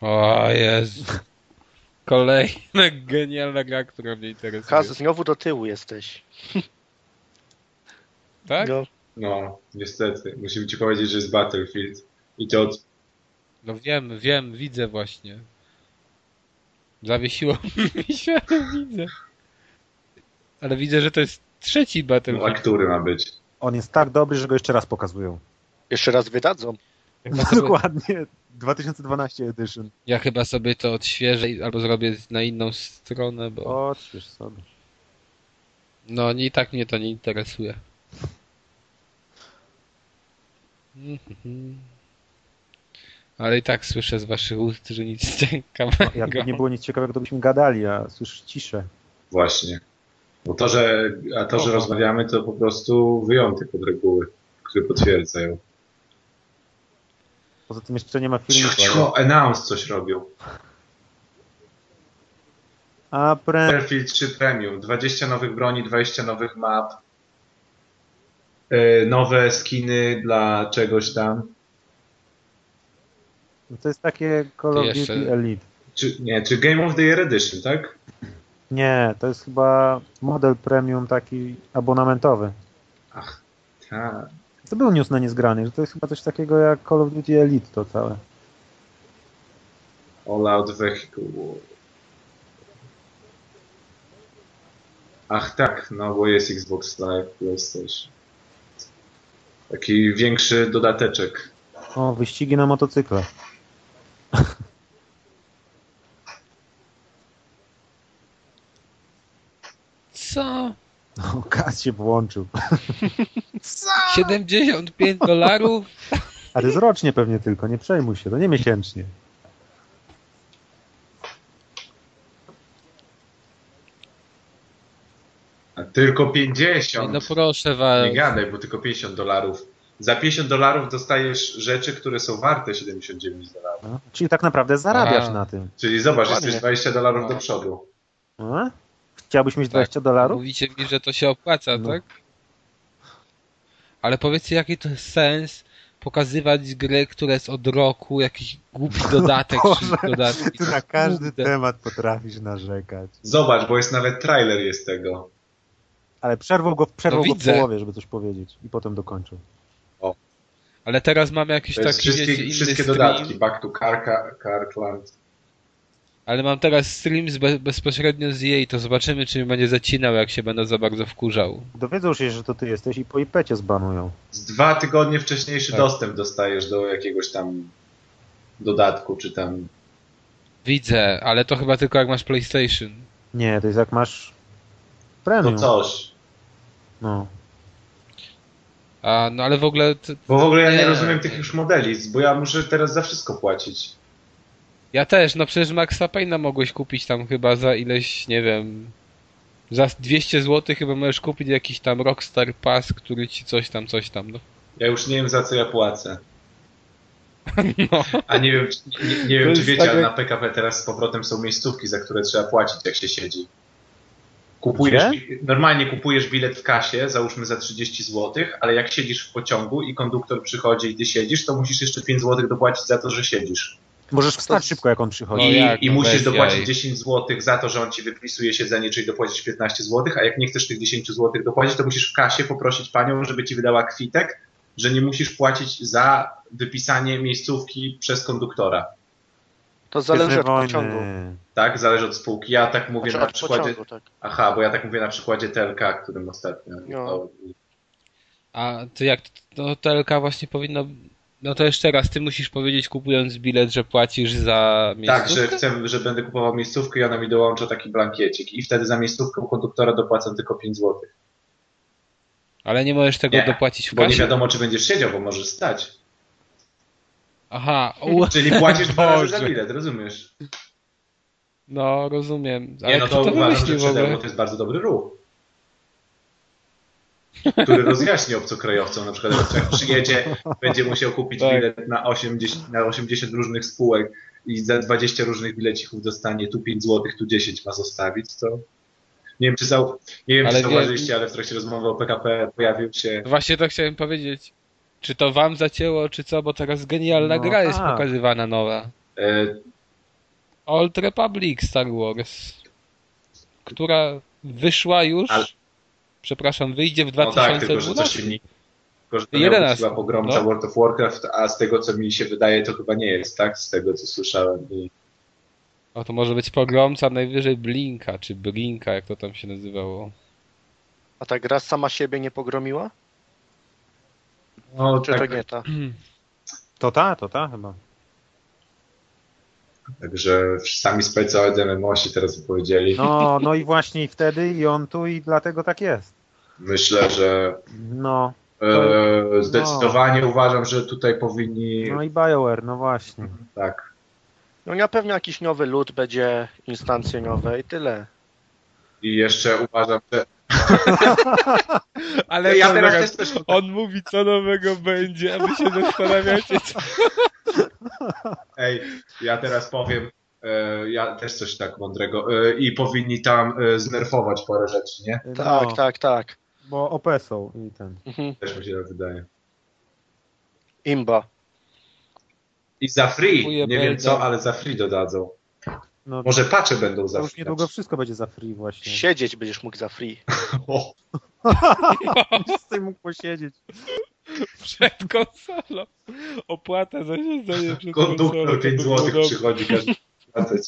A: O Jezu. Kolejna genialna gra, która mnie interesuje.
D: Kaz, znowu do tyłu jesteś.
A: tak?
D: No,
C: No, niestety. Musimy ci powiedzieć, że jest Battlefield. I to od...
A: No wiem, wiem, widzę właśnie. Zawiesiło mi się, ale widzę. Ale widzę, że to jest trzeci
C: no, a
A: Battlefield.
C: który ma być?
B: On jest tak dobry, że go jeszcze raz pokazują.
D: jeszcze raz wydadzą.
A: Chyba sobie-
B: Dokładnie. 2012 Edition.
A: Ja chyba sobie to odświeżę i- albo zrobię na inną stronę, bo
B: Oczywiście sobie.
A: no i tak mnie to nie interesuje. Mhm. Ale i tak słyszę z waszych ust, że nic
B: No, Jakby
A: ciekawego.
B: nie było nic ciekawego, to byśmy gadali, a słyszę ciszę.
C: Właśnie. Bo to, że, a to, że
A: Oho.
C: rozmawiamy, to po prostu wyjątek od reguły, który potwierdzają.
B: Poza tym jeszcze nie ma filmu.
C: Cicho, cicho, announce coś robił.
B: A pre...
C: Battlefield 3 Premium, 20 nowych broni, 20 nowych map, yy, nowe skiny dla czegoś tam.
B: no To jest takie Call
A: To
B: of
A: jeszcze-
B: Duty Elite.
C: Czy, nie, czy Game of the Year Edition, tak?
B: Nie, to jest chyba model premium taki abonamentowy.
C: Ach, tak.
B: To był news na niezgranych, że to jest chyba coś takiego jak Call of Duty Elite to całe.
C: All Out Vehicle. Ach tak, no bo jest Xbox Live, PlayStation. Taki większy dodateczek.
B: O, wyścigi na motocyklach.
A: Co?
B: O, Kas No, się włączył.
A: 75 dolarów?
B: Ale jest rocznie pewnie tylko, nie przejmuj się, to nie miesięcznie.
C: A tylko
A: Ej,
C: 50.
A: No proszę was.
C: Nie gadaj, bo tylko 50 dolarów. Za 50 dolarów dostajesz rzeczy, które są warte 79 dolarów.
B: No. Czyli tak naprawdę zarabiasz
A: A.
B: na tym. No,
C: Czyli zobacz,
D: Dokładnie.
C: jesteś 20 dolarów do przodu.
B: A? Chciałbyś
A: Tak.
B: mieć 20 dolarów?
A: Mówicie mi, że to się opłaca,
B: No.
A: tak? Ale powiedzcie, jaki to jest sens pokazywać grę, która jest od roku, jakiś głupi dodatek,
B: No Boże,
A: czy dodatki.
B: Ty na każdy
A: Kurde.
B: temat potrafisz narzekać.
C: Zobacz, bo jest nawet trailer jest tego.
B: Ale przerwał go, przerwał
A: No
B: go w
A: widzę.
B: połowie, żeby coś powiedzieć. I potem dokończył.
A: Ale teraz mamy jakiś
C: To jest
A: taki,
C: wszystkie,
A: Tak, wiecie, inny
C: wszystkie
A: stream,
C: dodatki. Back to Karka, Karkland.
A: ale mam teraz stream z be, bezpośrednio z jej, to zobaczymy, czy mi będzie zacinał, jak się będę za bardzo wkurzał.
B: Dowiedzą się, że to ty jesteś i po IP-cie zbanują.
C: Z dwa tygodnie wcześniejszy
A: Tak.
C: dostęp dostajesz do jakiegoś tam dodatku, czy tam.
A: Widzę, ale to chyba tylko jak masz PlayStation.
B: Nie, to jest jak masz
C: No
B: premium.
C: coś.
B: No.
A: A, no ale w ogóle, t,
C: Bo w ogóle ja nie
A: Nie.
C: rozumiem tych już modeli, bo ja muszę teraz za wszystko płacić.
A: ja też, no przecież Maxa Payne'a mogłeś kupić tam chyba za ileś, nie wiem, za 200 zł chyba możesz kupić jakiś tam Rockstar Pass, który ci coś tam, coś tam, no.
C: Ja już nie wiem za co ja płacę.
A: no.
C: A nie wiem, czy- nie, nie wiem
A: To
C: czy
A: jest
C: wiecie,
A: tak
C: ale na
A: jak-
C: PKP teraz z powrotem są miejscówki, za które trzeba płacić, jak się siedzi. Kupujesz,
B: Gdzie?
C: bi- normalnie kupujesz bilet w kasie, załóżmy za 30 zł, ale jak siedzisz w pociągu i konduktor przychodzi i ty siedzisz, to musisz jeszcze 5 zł dopłacić za to, że siedzisz.
B: Możesz wstać szybko, jak on przychodzi.
A: No
C: I,
A: jak,
C: i
A: no
C: musisz
A: bez
C: dopłacić
A: jaj.
C: 10 zł za to, że on ci wypisuje siedzenie, czyli dopłacić 15 zł, a jak nie chcesz tych 10 zł dopłacić, to musisz w kasie poprosić panią, żeby ci wydała kwitek, że nie musisz płacić za wypisanie miejscówki przez konduktora.
D: To zależy od
B: Wojny.
D: pociągu.
C: Tak, zależy od spółki. Ja tak mówię
D: Znaczy
C: na
D: od
C: przykładzie.
D: pociągu, tak.
C: Aha, bo ja tak mówię na przykładzie TLK, którym ostatnio.
D: No.
A: A to jak, no to TLK właśnie powinno, no to jeszcze raz, ty musisz powiedzieć kupując bilet, że płacisz za
C: Tak,
A: miejscówkę?
C: że chcę, że będę kupował miejscówkę i ona mi dołącza taki blankiecik. I wtedy za miejscówkę u konduktora dopłacam tylko 5 zł.
A: Ale nie możesz tego
C: Nie,
A: dopłacić w
C: Bo nie
A: kasie?
C: wiadomo, czy będziesz siedział, bo możesz stać.
A: Aha, u,
C: Czyli płacisz dwa razy za
A: Boże.
C: bilet, rozumiesz?
A: no rozumiem. Ale
C: Nie, no to
A: kto to
C: uważam, że
A: wymyślił w
C: przede
A: ogóle?
C: mną to jest bardzo dobry ruch. Który rozjaśni obcokrajowcom, na przykład jak przyjedzie, będzie musiał kupić
A: Tak.
C: bilet na 80, na 80 różnych spółek i za 20 różnych bilecików dostanie tu 5 zł, tu 10 ma zostawić, to nie wiem, czy, zau... nie wiem,
A: Ale
C: czy
A: wie-
C: zauważyliście, ale w trakcie rozmowy o PKP pojawił się
A: Właśnie to chciałem powiedzieć. Czy to wam zacięło, czy co? Bo teraz genialna
B: No
A: gra jest
B: tak.
A: pokazywana nowa.
C: e,
A: Old Republic Star Wars. Która wyszła już.
C: Ale-
A: Przepraszam, wyjdzie w
C: No tak, tylko że to
A: 2012.
C: się nie. Tylko, że to
A: 11,
C: miał być chyba pogromca
A: no.
C: World of Warcraft, a z tego co mi się wydaje, to chyba nie jest, tak? Z tego co słyszałem. I
A: o, to może być pogromca najwyżej Blinka, czy Blinka, jak to tam się nazywało.
D: A ta gra sama siebie nie pogromiła?
C: no,
D: Czy
C: tak,
D: to nie ta?
B: To ta, to ta chyba.
C: Także sami specy od MMO się teraz wypowiedzieli.
B: No, no i właśnie i wtedy, i on tu, i dlatego tak jest.
C: Myślę, że
B: No,
C: E, zdecydowanie uważam, że tutaj powinni.
B: No i BioWare, no właśnie.
C: Tak.
D: No na pewno jakiś nowy lód będzie, instancje nowe i tyle.
C: I jeszcze uważam, że.
A: Ale
C: ja
A: to
C: teraz
A: zaraz-
C: też też
A: on mówi co nowego będzie, a wy się zastanawiacie. Co...
C: Ej, ja teraz powiem, e, ja też coś tak mądrego. E, I powinni tam e, znerfować parę rzeczy, nie?
D: Tak,
B: no,
D: tak, tak.
B: Bo OP są i ten.
D: Mhm.
C: Też mi się tak wydaje.
D: Imba.
C: I za free,
A: Dziękuję,
C: nie wiem
A: Belda.
C: co, ale za free dodadzą.
B: No,
C: Może pacze będą za
B: to
C: free.
B: już niedługo wszystko będzie za free właśnie.
D: Siedzieć będziesz mógł za free.
C: O,
B: Z tym mógł posiedzieć.
A: Przed konsolą. Opłata za siedzenie przed konsolą.
C: konduktor 5
A: to było
C: zł
A: dobre.
C: przychodzi każdy. facet.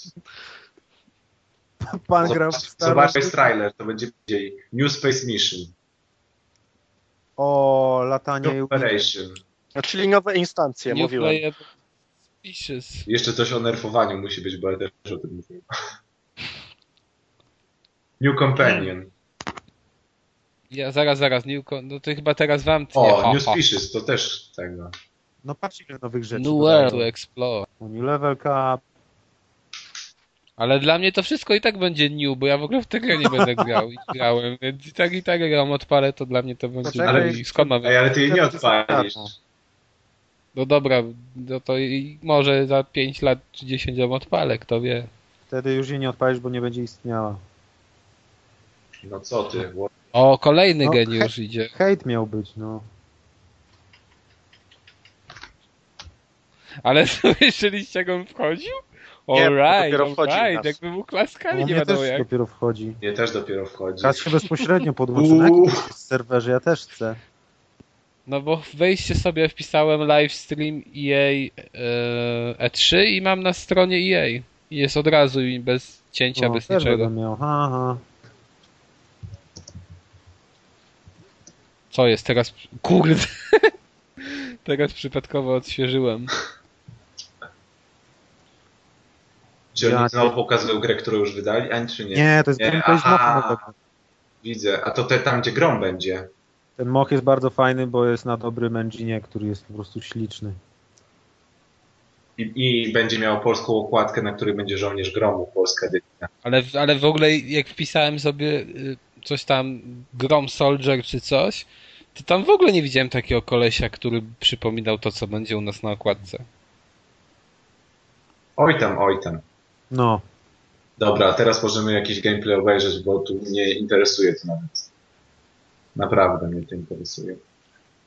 B: Pan grał w
C: Zobacz,
B: starą...
C: zobaczmy trailer, to będzie dzisiaj. New Space Mission,
B: O, latanie i
C: Operation.
D: No, czyli nowe instancje,
A: New
D: mówiłem.
A: playable Species.
C: Jeszcze coś o nerfowaniu musi być, bo ja też o tym mówię. New Companion.
A: Ja zaraz, zaraz, New Con... No to chyba teraz wam tnie.
C: O,
A: Ha,
C: New
A: ha.
C: Species, to też tego.
B: No patrz ile nowych rzeczy.
A: New
B: dodają.
A: World to Explore.
B: New Level Cup.
A: Ale dla mnie to wszystko i tak będzie new, bo ja w ogóle w tę grę nie będę grał i grałem, więc i tak i tak jak ją odpalę, to dla mnie to będzie
B: Poczekaj,
A: new. I Skąd mam
C: Ej, ale ty jej nie odpalisz.
A: No dobra, no to i może za 5 lat czy 10 ją odpalę, kto wie.
B: Wtedy już jej nie odpalisz, bo nie będzie istniała.
C: No co ty?
A: O, kolejny
B: No,
A: geniusz idzie.
B: Hate miał być, no.
A: Ale słyszeliście jak on wchodził?
D: Nie, bo
A: Alright,
D: dopiero wchodzi
A: alright,
D: nas.
A: jakby mu klaskali,
B: Bo
A: nie
B: mnie
A: wiadomo
B: No, też
A: jak.
B: dopiero wchodzi.
C: Mnie też dopiero wchodzi.
B: Teraz się bezpośrednio podłączy. Na
C: Uuu.
B: jakim to jest serwerze? Ja też chcę.
A: No bo wejście sobie wpisałem livestream EA e, E3 i mam na stronie EA. I Jest od razu i bez cięcia,
B: O,
A: bez
B: No, też
A: niczego.
B: będę miał. Ha, ha.
A: Co jest teraz? Kurde. teraz przypadkowo odświeżyłem.
C: Czy
B: Ja-
C: oni znowu pokazują grę, którą już wydali, ani czy nie?
B: Nie, to jest
C: Nie,
B: gameplay z mocha
C: aha.
B: nowego.
C: Widzę. A to te, tam, gdzie grom będzie.
B: Ten moch jest bardzo fajny, bo jest na dobrym engine, który jest po prostu śliczny.
C: I, I będzie miał polską okładkę, na której będzie żołnierz gromu, polska edycja.
A: Ale, ale w ogóle jak wpisałem sobie y, coś tam Grom Soldier czy coś, to tam w ogóle nie widziałem takiego kolesia, który przypominał to, co będzie u nas na okładce.
C: Oj tam, oj tam.
B: No.
C: Dobra, teraz możemy jakiś gameplay obejrzeć, bo tu mnie interesuje to nawet. Naprawdę mnie to interesuje.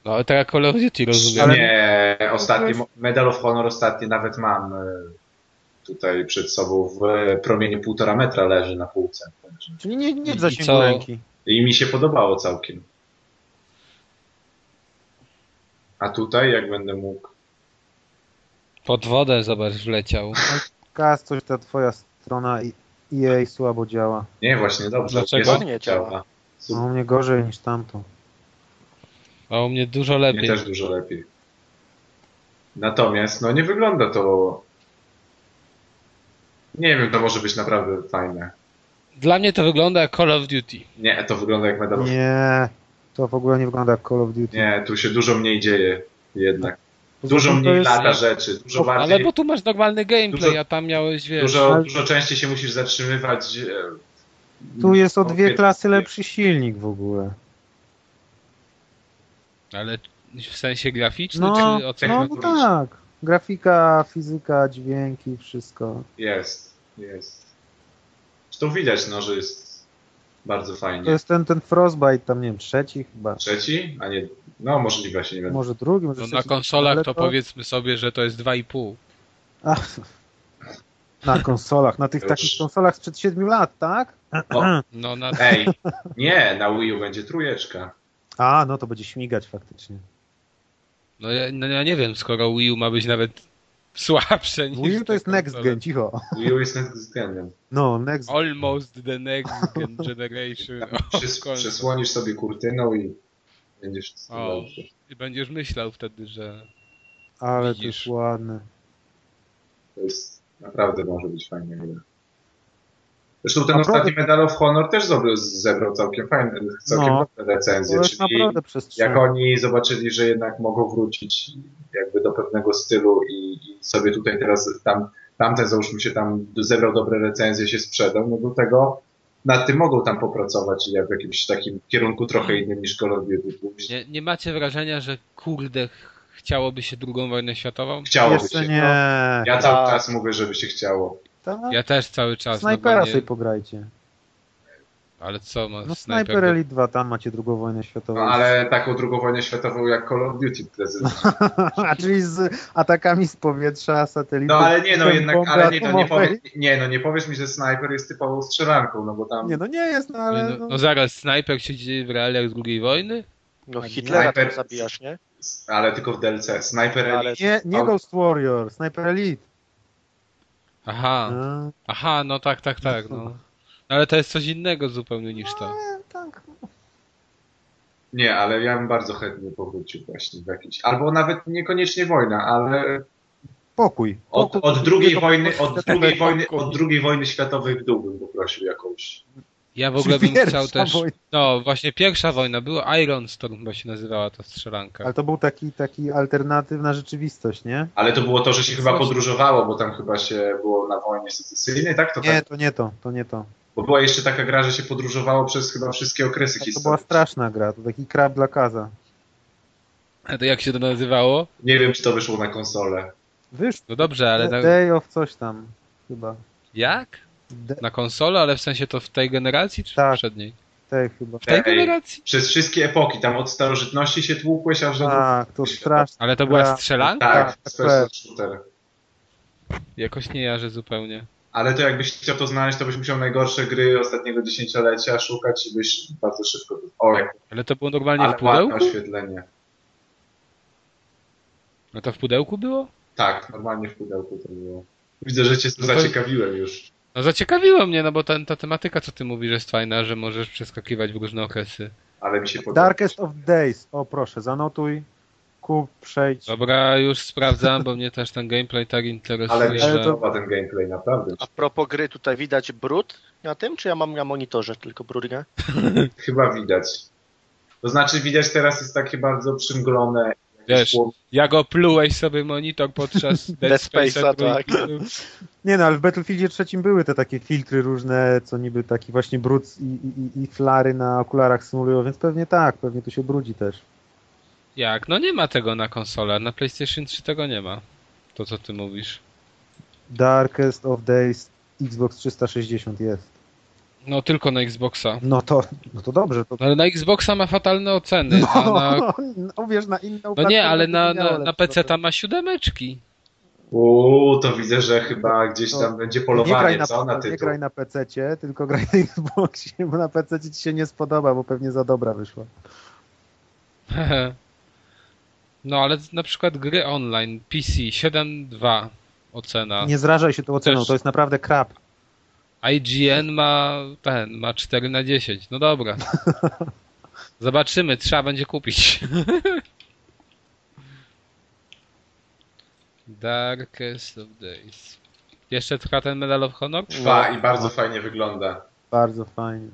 A: No ale tak jak Call of Duty rozumiem.
B: Ale-
C: Nie, ostatni, Medal of Honor ostatni nawet mam e, tutaj przed sobą w e, promieniu półtora metra leży na półce. Także.
B: Czyli nie, nie
A: I
B: w zasięgu
A: co?
B: ręki.
C: I mi się podobało całkiem. A tutaj, jak będę mógł.
A: Pod wodę zobacz wleciał.
B: Kas, coś ta twoja strona i EA słabo działa.
C: Nie, właśnie dobrze.
A: Dlaczego?
C: Jest-
D: Nie działa.
B: No, u mnie gorzej niż tamto.
A: A u mnie dużo
C: Mnie
A: lepiej.
C: też dużo lepiej. Natomiast, no nie wygląda to. Nie wiem, to może być naprawdę fajne.
A: Dla mnie to wygląda jak Call of Duty.
C: Nie, to wygląda jak medal. Nie,
B: Nie, to w ogóle nie wygląda jak Call of Duty.
C: nie tu się dużo mniej dzieje jednak.
B: Poza
C: Dużo
B: tym Tak. to
C: mniej
B: jest-
C: lata rzeczy, dużo
A: Ale
C: bardziej.
A: bo tu masz normalny gameplay,
C: Dużo-
A: a tam miałeś, wiesz...
C: Dużo,
B: ale-
C: dużo częściej się musisz zatrzymywać. e,
B: Tu jest o dwie
C: opie-
B: klasy lepszy silnik w ogóle.
A: Ale w sensie graficznym,
B: No,
A: czy o co
B: no
A: chodzi?
B: bo tak. Grafika, fizyka, dźwięki, wszystko.
C: Jest, jest. Zresztą widać, no, że jest bardzo
A: Hmm.
B: To
C: fajnie.
B: jest ten, ten Frostbite, tam nie wiem, trzeci chyba.
C: Trzeci? A nie. No, możliwe, ja się nie będę.
B: Może drugi, może
A: No, na
B: trzeci.
A: konsolach
B: Ale
A: to powiedzmy sobie, że to jest 2,5.
B: Ach, na konsolach, na tych
C: Już.
B: takich konsolach sprzed 7 lat, tak?
C: O,
A: No na...
C: ej, nie, na Wii U będzie trójeczka.
B: A, no to będzie śmigać faktycznie.
A: No ja, no ja nie wiem, skoro Wii U ma być nawet słabsze niż...
B: Wii U to
A: te
B: jest next
A: konsole.
B: gen, cicho.
C: Wii U jest względem.
B: No, next gen.
A: Almost the next gen generation. O,
C: Przys,
A: No, końcu.
C: przysłonisz Tak, sobie kurtyną i będziesz
A: O.
C: dobrze.
A: I będziesz myślał wtedy, że...
B: Ale to
A: widzisz.
B: jest ładne.
C: To jest naprawdę może być fajna gra. Zresztą ten
B: Naprawdę-
C: ostatni Medal of Honor też zebrał, zebrał całkiem fajne, całkiem
B: No.
C: dobre recenzje,
B: To jest
C: czyli
B: naprawdę przestrzeń.
C: jak oni zobaczyli, że jednak mogą wrócić jakby do pewnego stylu i, i sobie tutaj teraz tam, tamten załóżmy się tam zebrał dobre recenzje, się sprzedał, no do tego nad tym mogą tam popracować i jak w jakimś takim kierunku trochę innym niż Call of Duty pójść.
A: Nie, nie macie wrażenia, że kurde ch- chciałoby się drugą wojnę światową?
C: Chciałoby się.
B: Jeszcze nie.
C: No. Ja cały
D: A-
C: czas mówię, żeby się chciało.
B: Tam
A: Ja też cały czas.
B: snajpera
A: no bo nie-
B: sobie pograjcie.
A: Ale co ma
B: No
A: snajper?
B: Sniper Elite 2, tam macie drugą wojnę światową.
C: No, ale taką drugą wojnę światową jak Call of Duty prezent.
B: A czyli z atakami z powietrza,
C: No
B: satelitów.
C: ale nie, no
B: bomby
C: jednak, ale nie, no, nie,
B: atomowej.
C: powie, nie, no nie powiesz mi, że snajper jest typową strzelanką, no bo tam
B: Nie, no nie jest, no ale...
A: No, no zaraz, snajper siedzi w realiach II wojny?
D: No
B: Tak,
D: Hitlera tam
C: najpierw-
D: zabijasz, nie? No,
C: ale tylko w DLC. Snajper
D: Ale
C: Elite.
B: Nie, nie
C: Au.
B: Ghost Warrior, Sniper Elite.
A: Aha,
B: A,
A: aha, no tak, tak, tak. No. No, ale to jest coś innego zupełnie niż to.
B: tak.
C: Nie, ale ja bym bardzo chętnie powrócił właśnie w jakiś. Albo nawet niekoniecznie wojna, ale
B: Pokój.
C: od,
B: Pokój.
C: od drugiej wojny, od drugiej wojny,
B: Pokój.
C: od drugiej wojny światowej w dół bym poprosił jakąś.
A: Ja w ogóle
B: Czyli
A: bym
B: pierwsza
A: chciał też.
B: wojna.
A: No, właśnie pierwsza wojna była Iron Storm, bo się nazywała ta strzelanka.
B: Ale to był taki, taki alternatywna rzeczywistość, nie?
C: Ale to było to, że się chyba
B: Właśnie.
C: podróżowało, bo tam chyba się było na wojnie secesyjnej, tak? To
B: Nie,
C: tak.
B: to nie to, to nie to.
C: Bo była jeszcze taka gra, że się podróżowało przez chyba wszystkie okresy
B: To była
C: historii.
B: straszna gra, to taki krab dla kaza.
A: A to jak się to nazywało?
C: Nie wiem, czy to wyszło na konsolę.
B: Wiesz,
A: No dobrze, ale na...
B: Day of coś tam chyba.
A: jak?
B: De-
A: Na konsolę, ale w sensie to w tej generacji czy w
B: Tak.
A: poprzedniej?
B: Day chyba.
A: W tej
C: Ej.
A: generacji?
C: Przez wszystkie epoki, tam od starożytności się tłukłeś, aż do...
B: Tak, to straszne.
A: Ale to była
B: Gra.
A: strzelanka?
C: tak,
B: tak,
C: tak, shooter. Tak.
A: Jakoś nie jarzę zupełnie.
C: Ale to jakbyś chciał to znaleźć, to byś musiał najgorsze gry ostatniego dziesięciolecia szukać i byś bardzo szybko... O, jak
A: Ale to było normalnie
C: ale
A: w
C: ładne
A: pudełku?
C: oświetlenie.
A: No to w pudełku było?
C: Tak, normalnie w pudełku to było. Widzę, że cię
A: No to-
C: zaciekawiłem już.
A: No zaciekawiło mnie, no bo ta, ta tematyka, co ty mówisz, jest fajna, że możesz przeskakiwać w różne okresy.
C: Ale mi się podoba.
B: Darkest of Days. O proszę, zanotuj. Kup, przejdź.
A: Dobra, już sprawdzam, bo mnie też ten gameplay tak interesuje,
C: Ale mi się
A: że...
B: to-
C: podoba ten gameplay, naprawdę.
D: A propos gry, tutaj widać brud na tym, czy ja mam na monitorze tylko brudkę?
C: Chyba widać. To znaczy widać teraz jest takie bardzo przymglone.
A: Wiesz, jak oplułeś sobie monitor podczas Dead
D: Dead
A: Space'a,
D: Space'a, tak.
A: trójki.
B: Nie no, ale w Battlefieldzie trzecim były te takie filtry różne, co niby taki właśnie brud i, i, i- i flary na okularach symulują, więc pewnie tak, pewnie tu się brudzi też.
A: Jak? No nie ma tego na konsolę, na PlayStation 3 tego nie ma. To co ty mówisz.
B: Darkest of Days Xbox 360 jest.
A: No tylko na Xboxa.
B: No to, no to dobrze. To...
A: No, ale na Xboxa ma fatalne oceny, a na...
B: No, tak, no wiesz, na inną
A: No nie,
B: platformę
A: ale
B: to
A: na,
B: nie miało
A: na, na
B: lepszego.
A: PC tam ma siódemeczki.
C: Uuu, to widzę, że chyba gdzieś tam będzie
B: No, Nie graj,
C: polowanie,
B: na,
C: co? Na
B: nie
C: tytuł.
B: graj na PC, tylko graj na Xboxie, bo na PC ci się nie spodoba, bo pewnie za dobra wyszła.
A: No ale na przykład gry online, PC 7.2 ocena.
B: Nie zrażaj się tą oceną,
A: Też-
B: to jest naprawdę krap.
A: IGN ma ten, ma 4 na 10. No dobra. Zobaczymy, trzeba będzie kupić. Darkest of Days. Jeszcze trwa ten Medal of Honor?
C: Trwa
B: No.
C: i bardzo fajnie wygląda.
B: Bardzo fajnie.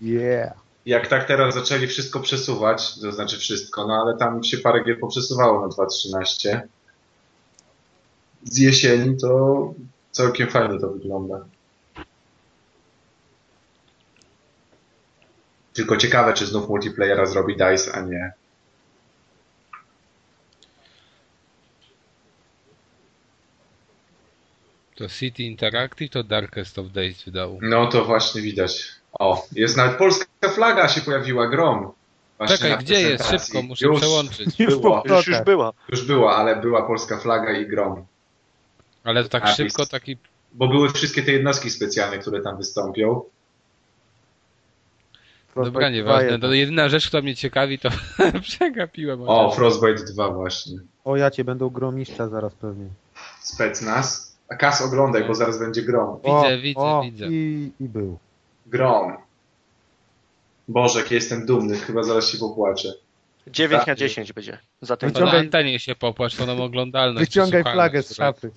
B: Yeah.
C: jak tak teraz zaczęli wszystko przesuwać, to znaczy wszystko, no ale tam się parę gier poprzesuwało na 2.13 z jesieni, to całkiem fajnie to wygląda. Tylko ciekawe, czy znów multiplayera zrobi DICE, a nie.
A: To City Interactive, to Darkest of Days wydało.
C: No to właśnie widać. O, jest nawet polska flaga się pojawiła, grom. Właśnie na
A: Czekaj, gdzie jest?
C: prezentacji.
A: Szybko, muszę
C: już,
A: przełączyć.
B: Już
C: Było.
B: po
D: Już, już
B: plotach.
D: była.
C: Już była, ale była polska flaga i grom.
A: Ale to tak
C: A,
A: szybko,
C: jest.
A: taki...
B: No
C: bo były wszystkie te jednostki specjalne, które tam wystąpią.
A: Dobra, nieważne. To jedyna rzecz, która mnie ciekawi, to przegapiłem.
C: O, Frostbite 2 właśnie.
B: O, ja cię będą gromiszcza zaraz pewnie.
C: Specnaz. A Kas oglądaj, bo zaraz będzie grom.
B: O,
A: Widzę, widzę,
B: o,
A: widzę.
B: I, I był.
C: Grom. Boże, jaki jestem dumny, chyba zaraz się popłaczę.
D: 9 na
C: Tak.
D: 10 będzie za ten
A: To No na
B: Wyciągaj-
A: antenie się popłacz, to nam oglądalność.
B: Wyciągaj
A: słuchalność
B: flagę z
A: wzrośnie.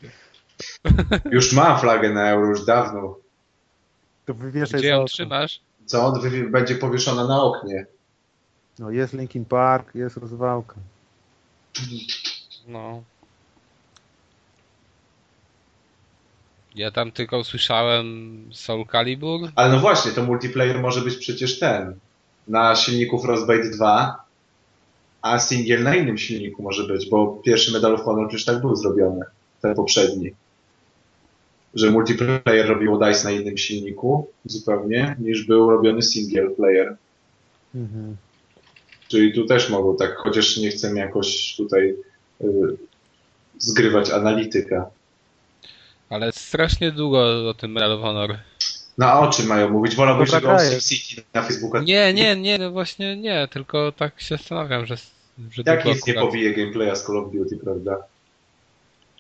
B: szafy.
C: Już ma flagę na euro, już dawno.
B: To wywieszaj
A: Gdzie ją
B: za okno.
A: trzymasz?
C: Co on wy- będzie powieszona na oknie?
B: No, jest Linkin Park, jest rozwałka.
A: No. Ja tam tylko usłyszałem Soul Calibur.
C: Ale no właśnie, to multiplayer może być przecież ten. Na silniku Frostbite 2, a singiel na innym silniku może być, bo pierwszy Medal of Honor przecież tak był zrobiony, ten poprzedni. Że multiplayer robiło DICE na innym silniku zupełnie, niż był robiony single player.
B: Mhm.
C: Czyli tu też mogą tak, chociaż nie chcę jakoś tutaj y, zgrywać analityka.
A: Ale strasznie długo o tym Medal of Honor.
C: Na oczy mają mówić, wolałbyś,
B: Dobra
C: żeby o
B: gra
C: Sim
B: jest.
C: City na Facebooka
A: Nie, nie, nie, no właśnie nie, tylko tak się zastanawiam, że. że
C: Jak
A: długo
C: nic nie
A: akurat.
C: powije gameplaya z Call of Duty, prawda?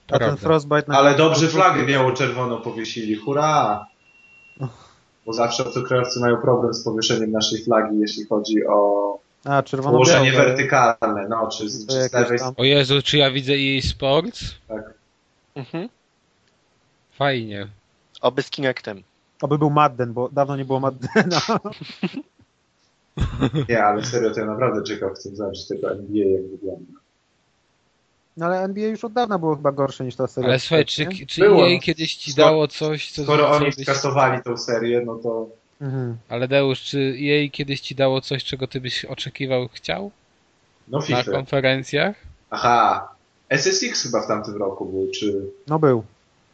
B: A ten
A: Prawda.
B: Frostbite na
C: Ale dobrze flagę biało-czerwoną powiesili, hurra! Bo zawsze autokrawcy mają problem z powieszeniem naszej flagi, jeśli chodzi o
B: A, czerwono
C: położenie wertykalne, no, czy z,
B: No, To
C: czy z
B: jakieś
C: lewej
B: tam-
A: O Jezu, czy ja widzę EA Sports?
C: tak.
D: Mhm.
A: Fajnie.
D: Oby z Kinectem.
B: Oby był Madden, bo dawno nie było Maddena.
C: Nie, ale serio, to ja naprawdę czekam, chcę zobaczyć tego NBA, jak wygląda.
B: No ale NBA już od dawna było chyba gorsze niż ta seria.
A: Ale słuchaj, czy,
B: Nie?
A: czy
C: Było.
A: EA kiedyś ci
C: Skoro-
A: dało coś, co...
C: Skoro
A: co
C: oni
A: byś-
C: skasowali tą serię, no to
B: Mhm.
A: Ale Deusz, czy EA kiedyś ci dało coś, czego ty byś oczekiwał, chciał?
C: no
A: Na
C: FIFA.
A: konferencjach?
C: Aha, SSX chyba w tamtym roku był, czy
B: No był.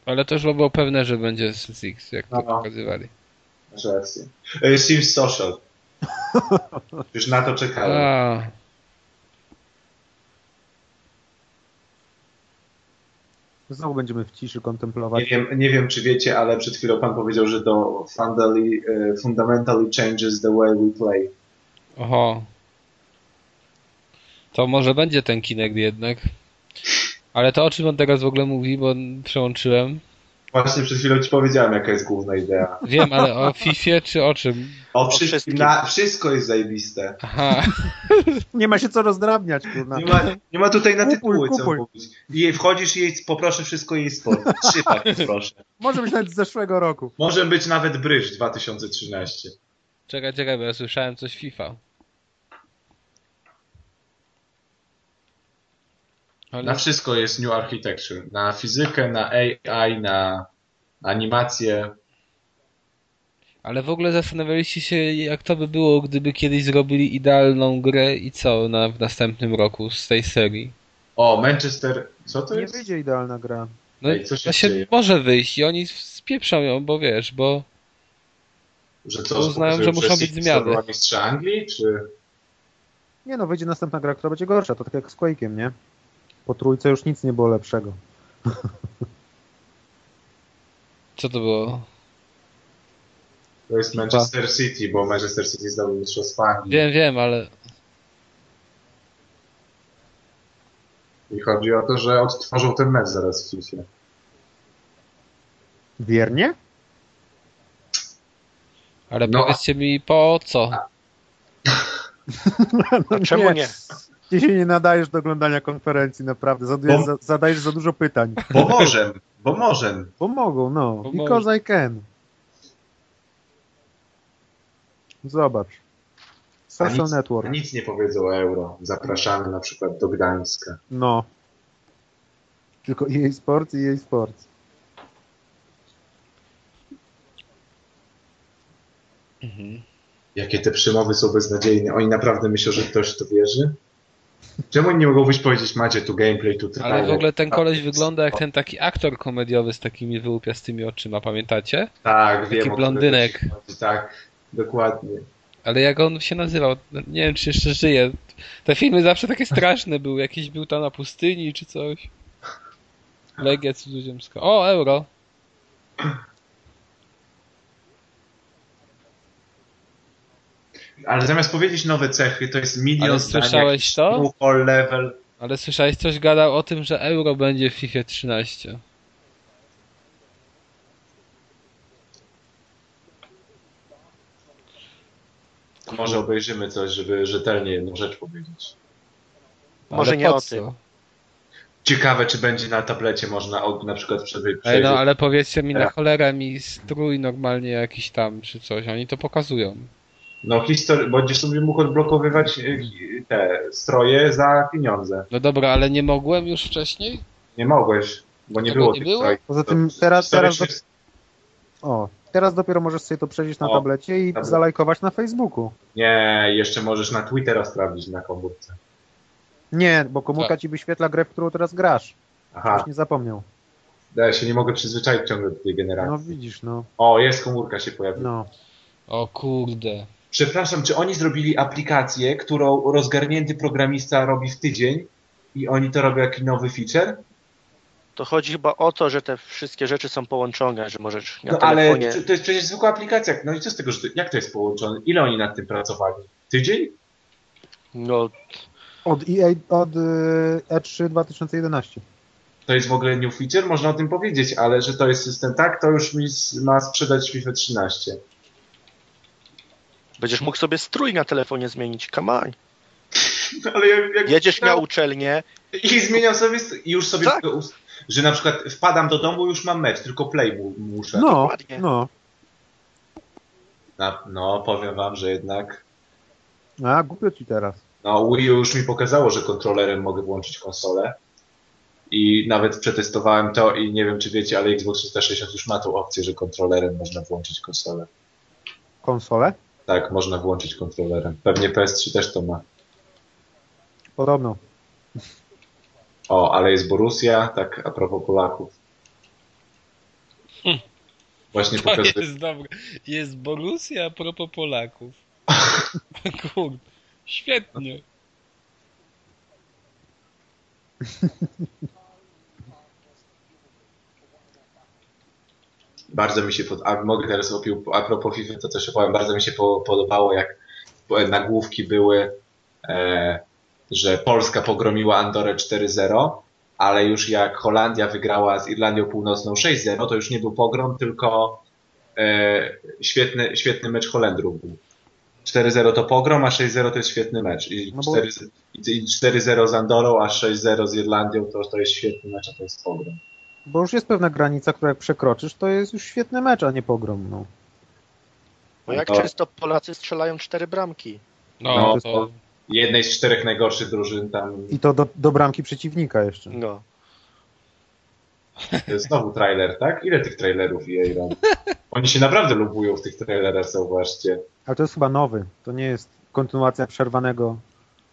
A: Ale to już było pewne, że będzie Six, jak to
C: No.
A: pokazywali.
C: masz rację. E, Sims Social. Już na to czekałem.
A: A,
B: Znowu będziemy w ciszy kontemplować.
C: Nie wiem, nie wiem, czy wiecie, ale przed chwilą pan powiedział, że to fundally, e, fundamentally changes the way we play.
A: oho. To może będzie ten Kinect jednak. Ale to o czym on teraz w ogóle mówi, bo przełączyłem.
C: Właśnie przed chwilą ci powiedziałem, jaka jest główna idea.
A: Wiem, ale o Fifie czy o czym?
C: O wszystkim,
D: wszystkim.
C: na, wszystko jest zajebiste.
A: Aha,
B: Nie ma się co rozdrabniać, kurna.
C: Nie ma, nie ma tutaj na
B: Kupuj,
C: tytuły co
B: kupuj.
C: mówić. I wchodzisz i jej, poproszę wszystko jej sport. Trzypak, proszę.
B: Może być nawet z zeszłego roku.
C: Może być nawet Bryż 2013.
A: czekaj, czekaj, bo ja słyszałem coś Fifa.
C: Na
A: Ale
C: wszystko jest New Architecture. Na fizykę, na AI, na animację.
A: Ale w ogóle zastanawialiście się, jak to by było, gdyby kiedyś zrobili idealną grę i co na, w następnym roku z tej serii?
C: O, Manchester. Co to
B: Nie
C: jest?
B: wyjdzie idealna gra.
A: No
C: Ej, co się
A: to się
C: dzieje?
A: może wyjść i oni spieprzą ją, bo wiesz, bo
C: Że co,
A: Uznałem, że muszą być zmiany.
C: Była mistrza Anglii, czy...
B: Nie no, wyjdzie następna gra, która będzie gorsza. To tak jak z Quake'iem, nie? Po trójce już nic nie było lepszego.
A: co to było?
C: To jest Manchester City, bo Manchester City zdobył mistrzostwo Anglii.
A: Tak. Wiem, wiem, ale
C: I chodzi o to, że odtworzą ten mecz zaraz w FIFA.
B: Wiernie?
A: ale
C: No.
A: powiedzcie mi po co?
B: No
D: czemu nie?
B: Ty się nie nadajesz do oglądania konferencji, naprawdę. Zadajesz
C: Bo-
B: za, zadajesz za dużo pytań.
C: Bo możem, bo możem.
B: Pomogą, no.
A: Pomogą.
B: Because I can. Zobacz.
C: A
B: Social
C: nic-
B: Network.
C: Nic nie powiedzą o euro. Zapraszamy na przykład do Gdańska.
B: No. Tylko EA Sports i EA Sports.
A: Mhm.
C: Jakie te przemowy są beznadziejne. Oni naprawdę myślą, że ktoś w to wierzy? Czemu oni nie mogą wyjść powiedzieć, macie tu gameplay, tu trailer.
A: Ale w ogóle ten koleś wygląda jak ten taki aktor komediowy z takimi wyłupiastymi oczyma, pamiętacie?
C: Tak, wiem.
A: taki
C: o którym
A: blondynek.
C: ci chodzi, Tak, dokładnie.
A: Ale jak on się nazywał? No, Nie wiem, czy jeszcze żyje. Te filmy zawsze takie straszne były. Jakiś był tam na pustyni czy coś. Legia cudzoziemska. O, euro.
C: Ale zamiast powiedzieć nowe cechy, to jest
A: Ale
C: milion zdań,
A: słyszałeś to?
C: jakiś all level,
A: Ale słyszałeś, coś gadał o tym, że euro będzie w FIFA 13.
C: To Może obejrzymy coś, żeby rzetelnie jedną rzecz powiedzieć.
A: Ale
D: Może nie
A: po
D: o
A: co?
D: tym.
C: Ciekawe, czy będzie na tablecie można od, na przykład przebyć.
A: Ej, no ale powiedzcie mi na
C: Teraz.
A: cholerę mi strój normalnie jakiś tam czy coś, oni to pokazują.
C: No histor- będziesz sobie mógł odblokowywać y, te stroje za pieniądze.
A: No dobra, ale nie mogłem już wcześniej?
C: Nie mogłeś, bo nie
A: Tego
C: było
A: nie
C: tych
A: było?
C: strojów.
B: Poza
C: To
B: tym teraz,
C: historia
B: teraz,
C: się-
B: O, teraz dopiero możesz sobie to przejrzeć na
C: O,
B: tablecie i
C: dobra.
B: zalajkować na Facebooku.
C: Nie, jeszcze możesz na Twittera sprawdzić na komórce.
B: Nie, bo komórka
A: Tak.
B: ci wyświetla grę, w którą teraz grasz.
C: Aha,
B: Już nie zapomniał.
C: ja się nie mogę przyzwyczaić ciągle do tej
B: No
C: generacji.
B: widzisz, no.
C: O, jest komórka się pojawiła.
B: no.
A: O kurde.
C: Przepraszam, czy oni zrobili aplikację, którą rozgarnięty programista robi w tydzień i oni to robią jak nowy feature?
D: To chodzi chyba o to, że te wszystkie rzeczy są połączone, że możesz na
C: No ale
D: telefonie...
C: czy- to jest przecież zwykła aplikacja. No i co z tego, że to, jak to jest połączone? Ile oni nad tym pracowali? Tydzień?
D: No,
B: Od EA, od y, E3 2011.
C: To jest w ogóle new feature, można o tym powiedzieć, ale że to jest system tak, to już mi s- ma sprzedać FIFA 13.
D: będziesz mógł sobie strój na telefonie zmienić, come on.
C: Ale jak, jak
D: Jedziesz na uczelnię,
C: I zmieniam sobie, st- i już sobie,
D: Tak.
C: tylko ust- że na przykład wpadam do domu, już mam mecz, tylko play mu, muszę. No.
B: No,
D: dokładnie.
B: no.
C: Na, no, powiem wam, że jednak,
B: A, głupio ci teraz.
C: no Wii U już mi pokazało, że kontrolerem mogę włączyć konsolę. I nawet przetestowałem to i nie wiem, czy wiecie, ale Xbox 360 już ma tą opcję, że kontrolerem można włączyć konsolę.
B: Konsole?
C: Tak, można włączyć kontrolerem. Pewnie PS3 też to ma.
B: Podobno.
C: O, ale jest Borussia, tak a propos Polaków. Właśnie
A: To
C: pokazuję.
A: jest dobre. Jest Borussia a propos Polaków. Kurde. Świetnie.
C: bardzo mi się, pod... a mogę teraz opił, a propos FIFA, to też opowiem, bardzo mi się po, podobało, jak po- nagłówki były, e, że Polska pogromiła Andorę 4-0, ale już jak Holandia wygrała z Irlandią Północną 6-0, to już nie był pogrom, tylko e, świetny, świetny mecz Holendrów był. 4-0 to pogrom, a 6-0 to jest świetny mecz. I
B: No bo-
C: 4 i 4-0 z Andorą, a 6-0 z Irlandią to, to jest świetny mecz, a to jest pogrom.
B: Bo już jest pewna granica, która jak przekroczysz, to jest już świetny mecz, a nie pogrom. No.
D: bo jak
C: No.
D: często Polacy strzelają cztery bramki.
A: No,
C: No,
A: to...
C: Jednej z czterech najgorszych drużyn tam
B: I to do, do bramki przeciwnika jeszcze.
D: No.
C: To jest E, Znowu trailer, tak? Ile tych trailerów jej robi? Oni się naprawdę lubują w tych trailerach, zauważcie.
B: Ale to jest chyba nowy. To nie jest kontynuacja przerwanego.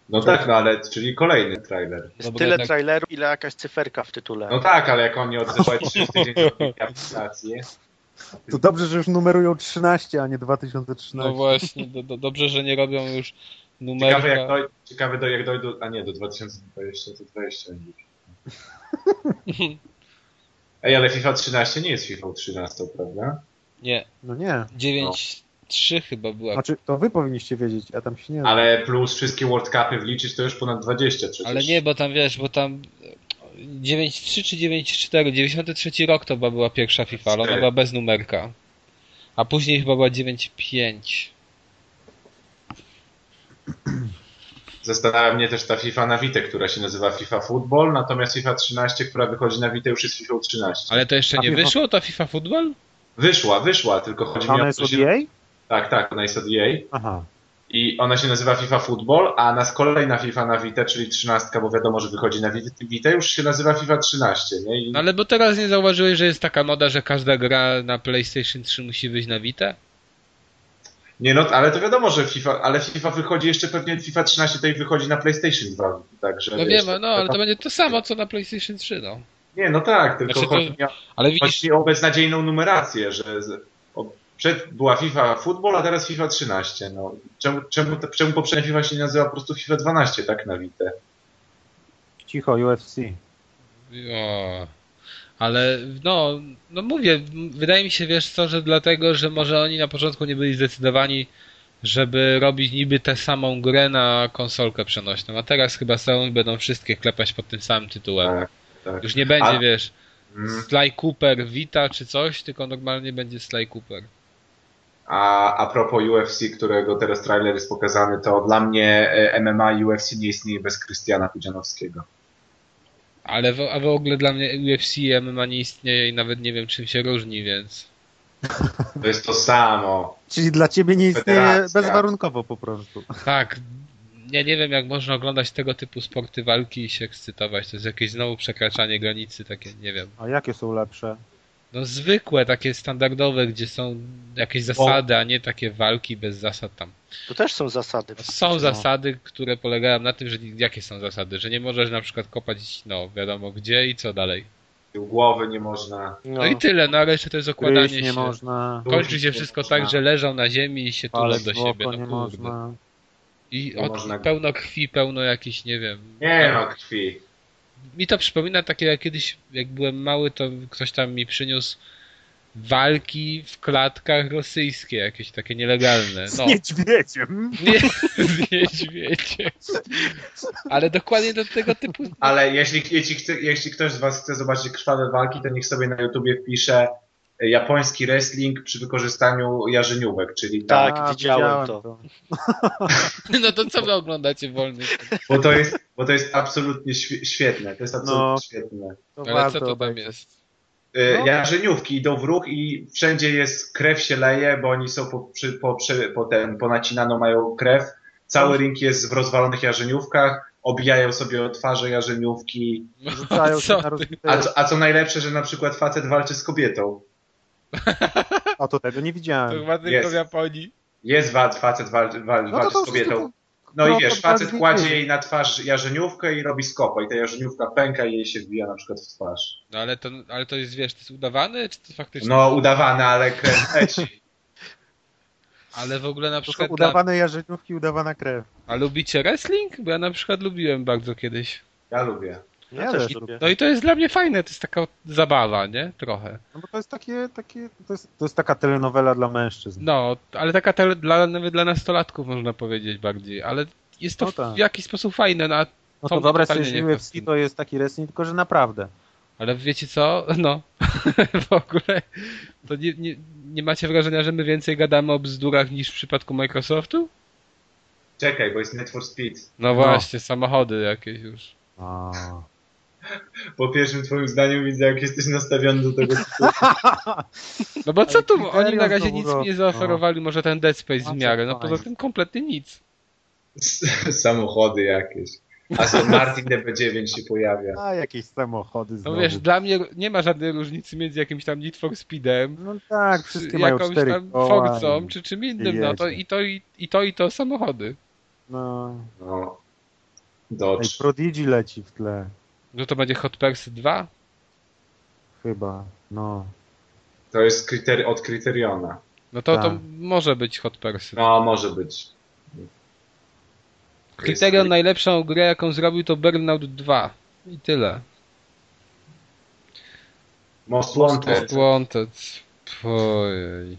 C: No tak, no ale czyli kolejny trailer.
D: Jest
A: Dobra,
D: tyle
A: jednak-
D: trailerów, ile jakaś cyferka w tytule.
C: No tak, ale jak oni odzywają 3 tydzień robili aplikację.
B: To dobrze, że już numerują 13, a nie 2013.
A: no właśnie, do, do, dobrze, że nie robią już
C: Ciekawe jak,
A: numerka.
C: doj- ciekawe do, jak dojdą, a nie, do 2020 to 20. oni już. Ej, ale FIFA 13 nie jest FIFA 13, prawda?
A: Nie,
B: No nie.
A: 9-3 chyba była.
B: Znaczy, to wy powinniście wiedzieć, ja tam się nie znam.
C: Ale plus wszystkie World Cupy wliczyć to już ponad 20 przecież.
A: Ale nie, bo tam wiesz, bo tam 9-3 czy 9-4, 93 rok to chyba była pierwsza FIFA, ale ona była bez numerka. A później chyba była 9-5.
C: Zastanawia mnie też ta FIFA na Witę, która się nazywa FIFA Football, natomiast FIFA 13, która wychodzi na Witę już jest FIFA 13.
A: Ale to jeszcze
B: A
A: nie
B: FIFA?
A: wyszło, ta FIFA Football?
C: Wyszła, wyszła, tylko chodzi
B: A
C: mi
B: ona
C: o
B: jest
C: to,
B: od
C: że...
B: EA?
C: Tak, tak, ona jest od EA.
B: Aha.
C: I ona się nazywa FIFA Football, a nas kolejna FIFA na Vita, czyli 13, bo wiadomo, że wychodzi na Vita- Vita, już się nazywa FIFA 13, nie? I...
A: No ale bo teraz nie zauważyłeś, że jest taka moda, że każda gra na PlayStation 3 musi wyjść na Vita?
C: Nie no, ale to wiadomo, że FIFA, ale FIFA wychodzi jeszcze pewnie, FIFA 13 tutaj wychodzi na PlayStation 2, także...
A: No
C: wiesz,
A: wiem, no ale to będzie to samo co na PlayStation 3, no.
C: Nie, no tak, tylko
A: Znaczy to-
C: chodzi, mi o,
A: Ale widzisz,
C: chodzi mi o beznadziejną numerację, że... Z... O, przed była FIFA Football, a teraz FIFA 13, no. Czemu, czemu, czemu poprzednia FIFA się nie nazywa po prostu FIFA 12, tak, na Vita?
B: Cicho, UFC.
A: O, ale no, no mówię, m- wydaje mi się, wiesz co, że dlatego, że może oni na początku nie byli zdecydowani, żeby robić niby tę samą grę na konsolkę przenośną, a teraz chyba są i będą wszystkie klepać pod tym samym tytułem.
C: Tak, tak.
A: Już nie będzie,
C: A-
A: wiesz,
C: Mm.
A: Sly Cooper Vita czy coś, tylko normalnie będzie Sly Cooper.
C: A, a propos UFC, którego teraz trailer jest pokazany, to dla mnie e, MMA i UFC nie istnieje bez Krystiana Pudzianowskiego.
A: Ale w, a w ogóle dla mnie UFC i MMA nie istnieje i nawet nie wiem czym się różni, więc
C: To jest to samo.
B: Czyli dla ciebie nie istnieje
C: Federacja.
B: bezwarunkowo po prostu.
A: tak. Ja nie wiem jak można oglądać tego typu sporty walki i się ekscytować. To jest jakieś znowu przekraczanie granicy, takie nie wiem.
B: A jakie są lepsze?
A: No zwykłe, takie standardowe, gdzie są jakieś zasady, a nie takie walki bez zasad tam. No,
D: Tu też są zasady.
B: No.
D: no.
A: Są zasady, które polegają na tym, że jakie są zasady, że nie możesz na przykład kopać, no wiadomo gdzie i co dalej.
C: Tył głowy nie można.
A: No i tyle, no ale jeszcze to jest okładanie
B: Kryć nie
A: się.
B: można,
A: Kończy się wszystko tak, że leżą na ziemi i się tulą
B: palec
A: do
B: w oko
A: siebie. No
B: nie
A: kurde.
B: można.
A: I
C: Nie
A: od,
C: można.
A: pełno krwi, pełno jakichś, nie wiem.
C: Nie ma krwi.
A: Mi to przypomina takie, jak kiedyś, jak byłem mały, to ktoś tam mi przyniósł walki w klatkach rosyjskie, jakieś takie nielegalne.
B: Z
A: No.
B: niedźwiedziem.
A: Nie, z niedźwiedziem. Ale dokładnie do tego typu
C: Ale jeśli, jeśli, chce, jeśli ktoś z was chce zobaczyć krwawe walki, to niech sobie na YouTubie wpisze e, japoński wrestling przy wykorzystaniu jarzeniówek, czyli tam,
D: Tak, widziałem to.
A: No to co wy oglądacie wolny?
C: bo to jest, bo to jest absolutnie świ- świetne, to jest absolutnie
B: Tak. No.
C: świetne.
B: to
A: Ale co to tam jest?
C: E,
B: No.
C: Jarzeniówki idą w ruch i wszędzie jest, krew się leje, bo oni są po, przy, po, przy, po ten, ponacinaną mają krew, cały ring jest w rozwalonych jarzeniówkach, obijają sobie o twarze jarzeniówki,
B: Rzucają się
A: No, Co
B: na
A: ty?
B: rozbite...
C: a co, a co najlepsze, że na przykład facet walczy z kobietą.
B: A to tego nie
A: To
B: widziałem.
A: chyba tylko w
C: Jest.
A: Japonii.
C: Jest wa- facet wal, wal,
B: No to
C: walczy
B: to
C: z kobietą.
B: wszystko-
C: No
B: no
C: i
B: to
C: wiesz, facet
B: bardziej
C: kładzie
B: nie.
C: jej na twarz jarzeniówkę i robi skopa i ta jarzeniówka pęka i jej się wbija na przykład w twarz.
A: No ale to, ale to jest, wiesz, to jest udawane, czy to faktycznie?
C: No udawane, ale krew leci.
A: Ale w ogóle na
B: To są
A: przykład dla...
B: udawane jarzeniówki, udawana krew.
A: A lubicie wrestling? Bo ja na przykład lubiłem bardzo kiedyś.
C: Ja lubię.
D: Ja,
B: Ja
D: też
B: też
D: lubię.
A: No i to jest dla mnie fajne, to jest taka zabawa, nie? Trochę.
B: No bo to jest takie, takie to, jest, to jest taka telenowela dla mężczyzn.
A: No, ale taka tele, dla, nawet dla nastolatków można powiedzieć bardziej, ale jest to
B: No tak.
A: w jakiś sposób fajne, no, a-
B: No
A: To
B: to dobra,
A: totalnie
B: przecież
A: nie wiem.
B: UFC to jest taki wrestling, tylko że naprawdę.
A: ale wiecie co? No, w ogóle to nie, nie, nie macie wrażenia, że my więcej gadamy o bzdurach niż w przypadku Microsoftu?
C: Czekaj, bo jest Need for Speed.
A: No właśnie, samochody jakieś już.
B: A.
C: Po pierwszym twoim zdaniu widzę, jak jesteś nastawiony do tego. tytułu.
A: No bo co
B: Ale
A: tu,
B: kryterium
A: oni na razie
B: znowu
A: nic
B: go-
A: mi nie zaoferowali, może ten Dead Space
B: No,
A: w miarę, no
B: fajnie.
A: poza tym kompletnie nic.
C: Samochody jakieś. A co Martin DB9 się pojawia.
B: A jakieś samochody
A: No
B: znowu.
A: wiesz, dla mnie nie ma żadnej różnicy między jakimś tam Need for Speedem,
B: No tak,
A: z
B: wszystkie mają
A: jakąś
B: cztery
A: tam
B: koła
A: Forzą,
B: i-
A: czy czym innym, no to
B: jedzie.
A: i to i, i to i to samochody.
B: No.
C: No.
B: Ej,
C: Dodge.
B: Prodigy leci w tle,
A: No to będzie Hot Pursuit 2?
B: chyba. No.
C: To jest kryter- od Kryteriona.
A: No to, to
B: Tak.
A: może być Hot Pursuit.
C: No, może być.
A: Kryterion
C: Jest-
A: najlepszą grę jaką zrobił to Burnout 2. I tyle.
C: Most Wanted.
A: Most Wanted. Ojej.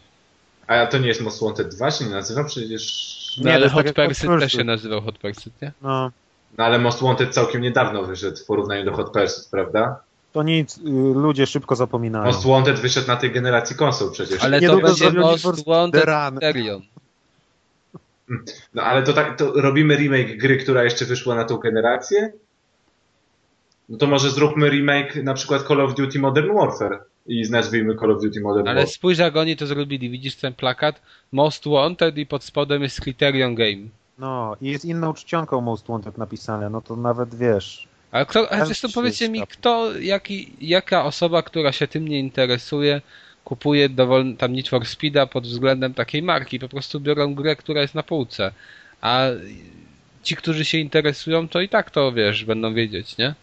C: A to nie jest Most Wanted 2 się nie nazywa? Przecież...
A: No
B: Nie, to
A: ale
B: jest
A: Hot
B: tak jak Hot
A: Pursuit
B: Pursuit.
A: też się nazywał Hot Pursuit, nie?
B: No.
C: No ale Most Wanted całkiem niedawno wyszedł w porównaniu do Hot Pursuit, prawda?
B: To nic, y, ludzie szybko zapominają.
C: Most Wanted wyszedł na tej generacji konsol przecież.
A: Ale to
B: Niedługo
A: będzie
B: zrobią
A: Most
B: Need for
A: Wanted
B: The Run.
A: Kryterion.
C: No ale to tak, to robimy remake gry, która jeszcze wyszła na tą generację? No to może zróbmy remake na przykład Call of Duty Modern Warfare i nazwijmy Call of Duty Modern
A: Ale
C: Warfare.
A: spójrz jak oni to zrobili, widzisz ten plakat? Most Wanted i pod spodem jest Criterion Game.
B: No, i jest inną czcionką Most Wanted napisane, no to nawet wiesz.
A: Ale kto, a
B: Też
A: zresztą
B: się
A: powiedzcie mi,
B: zgadzam.
A: kto, jaki, jaka osoba, która się tym nie interesuje, kupuje dowolny, tam Need for Speeda pod względem takiej marki. Po prostu biorą grę, która jest na półce. A ci, którzy się interesują, to i tak to, wiesz, będą wiedzieć, nie?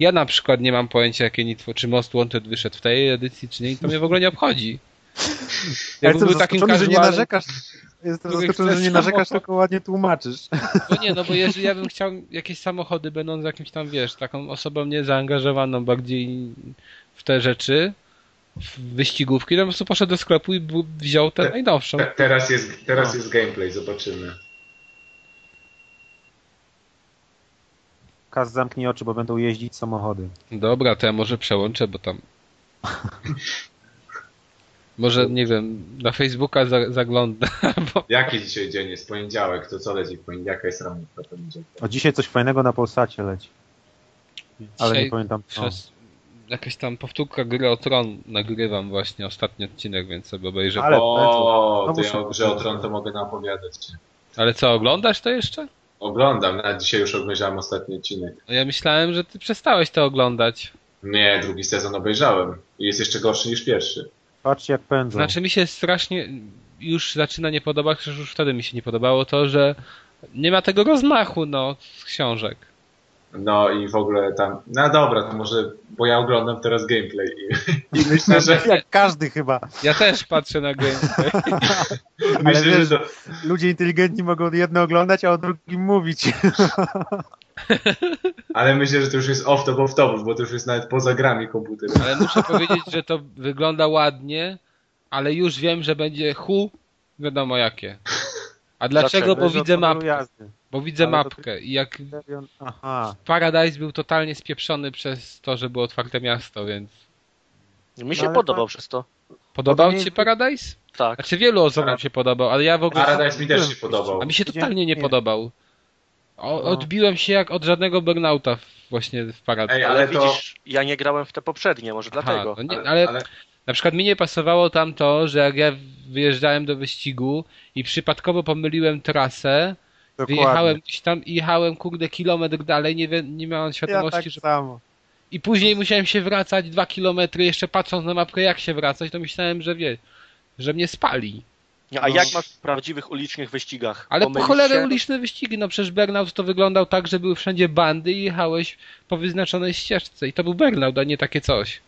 A: Ja na przykład nie mam pojęcia, jakie Need for, czy Most Wanted wyszedł w tej edycji, czy nie, i to mnie w ogóle nie obchodzi.
B: Ja
A: Jakbym
B: jestem
A: był takim
B: zaskoczony, że nie
A: casualem-
B: narzekasz. Jestem
A: który
B: zaskoczony,
A: chce
B: że nie narzekasz,
A: samochód.
B: tylko ładnie tłumaczysz.
A: No nie, no bo jeżeli ja bym chciał jakieś samochody, będąc jakimś tam, wiesz, taką osobą niezaangażowaną bardziej w te rzeczy, w wyścigówki, to po prostu poszedł do sklepu i bu- wziął tę najnowszą.
C: Te- Teraz, jest, teraz
B: No.
C: jest gameplay, zobaczymy.
B: Kaz zamknij oczy, bo będą jeździć samochody.
A: Dobra, to ja może przełączę, bo tam... Może, nie wiem, na Facebooka za- zaglądam, bo
C: Jaki dzisiaj dzień jest? Poniedziałek, to co leci w poniedziałek? Jaka jest ramówka poniedziałek?
B: A dzisiaj coś fajnego na Polsacie leci. ale
A: Dzisiaj
B: nie pamiętam. No.
A: Przez jakaś tam powtórka gry o tron nagrywam właśnie ostatni odcinek, więc sobie obejrzę.
B: Ale-
A: Ale,
C: O,
B: no
C: to
B: muszę-
C: ja grze o tron to mogę napowiadać.
A: co, oglądasz to jeszcze?
C: Oglądam, nawet dzisiaj już obejrzałem ostatni odcinek.
A: No Ja myślałem, że ty przestałeś to oglądać.
C: Nie, drugi sezon obejrzałem. I jest jeszcze gorszy niż pierwszy.
B: Patrzcie jak pędzą.
A: Znaczy mi się strasznie już zaczyna nie podobać, chociaż już wtedy mi się nie podobało to, że nie ma tego rozmachu, no, z książek.
C: No i w ogóle tam. No dobra, to może. Bo ja oglądam teraz gameplay i, i myślę, że.
B: Jak każdy chyba.
A: Ja też patrzę na gameplay.
C: myślę,
B: wiesz-
C: że to,
B: Ludzie inteligentni mogą jedno oglądać, a o drugim mówić.
C: ale myślę, że to już jest off-top off-top, bo to już jest nawet poza grami komputerowymi.
A: Ale muszę powiedzieć, że to wygląda ładnie, ale już wiem, że będzie hu, wiadomo jakie. A dlaczego?
D: Dlaczego?
A: Bo widzę
B: mapę.
A: mapkę. Bo widzę
B: No Ale to
A: mapkę. I jak
B: no. Aha.
A: Paradise był totalnie spieprzony przez to, że było otwarte miasto, więc
D: Mi
B: No,
D: się
B: ale
D: podobał
B: tak.
D: przez to.
A: podobał
B: Podobnie-
A: ci Paradise?
D: Tak.
A: Znaczy wielu osobom
C: Para-
A: się podobał, ale ja w ogóle
C: Paradise mi też się podobał.
A: a mi się totalnie nie
B: Nie.
A: podobał. O,
B: No.
A: odbiłem się jak od żadnego burnouta w- właśnie w Paradise.
C: Ej,
D: Ale,
C: ale to-
D: widzisz, ja nie grałem w te poprzednie, może dlatego.
A: no nie,
C: Ale,
A: ale
C: ale,
A: na przykład mi nie pasowało tam to, że jak ja wyjeżdżałem do wyścigu i przypadkowo pomyliłem trasę,
B: Dokładnie.
A: wyjechałem gdzieś tam i jechałem kurde kilometr dalej, nie, wie, nie miałem
B: ja
A: świadomości,
B: tak
A: że
B: samo.
A: I później musiałem się wracać dwa kilometry, jeszcze patrząc na mapkę, jak się wracać, to myślałem, że wie, że mnie spali.
D: Nie, No, A jak masz w prawdziwych ulicznych wyścigach?
A: Ale
D: Pomylisz
A: po cholerę
D: się?
A: uliczne wyścigi, no przecież Burnout to wyglądał tak, że były wszędzie bandy i jechałeś po wyznaczonej ścieżce. I to był Burnout, a nie takie coś.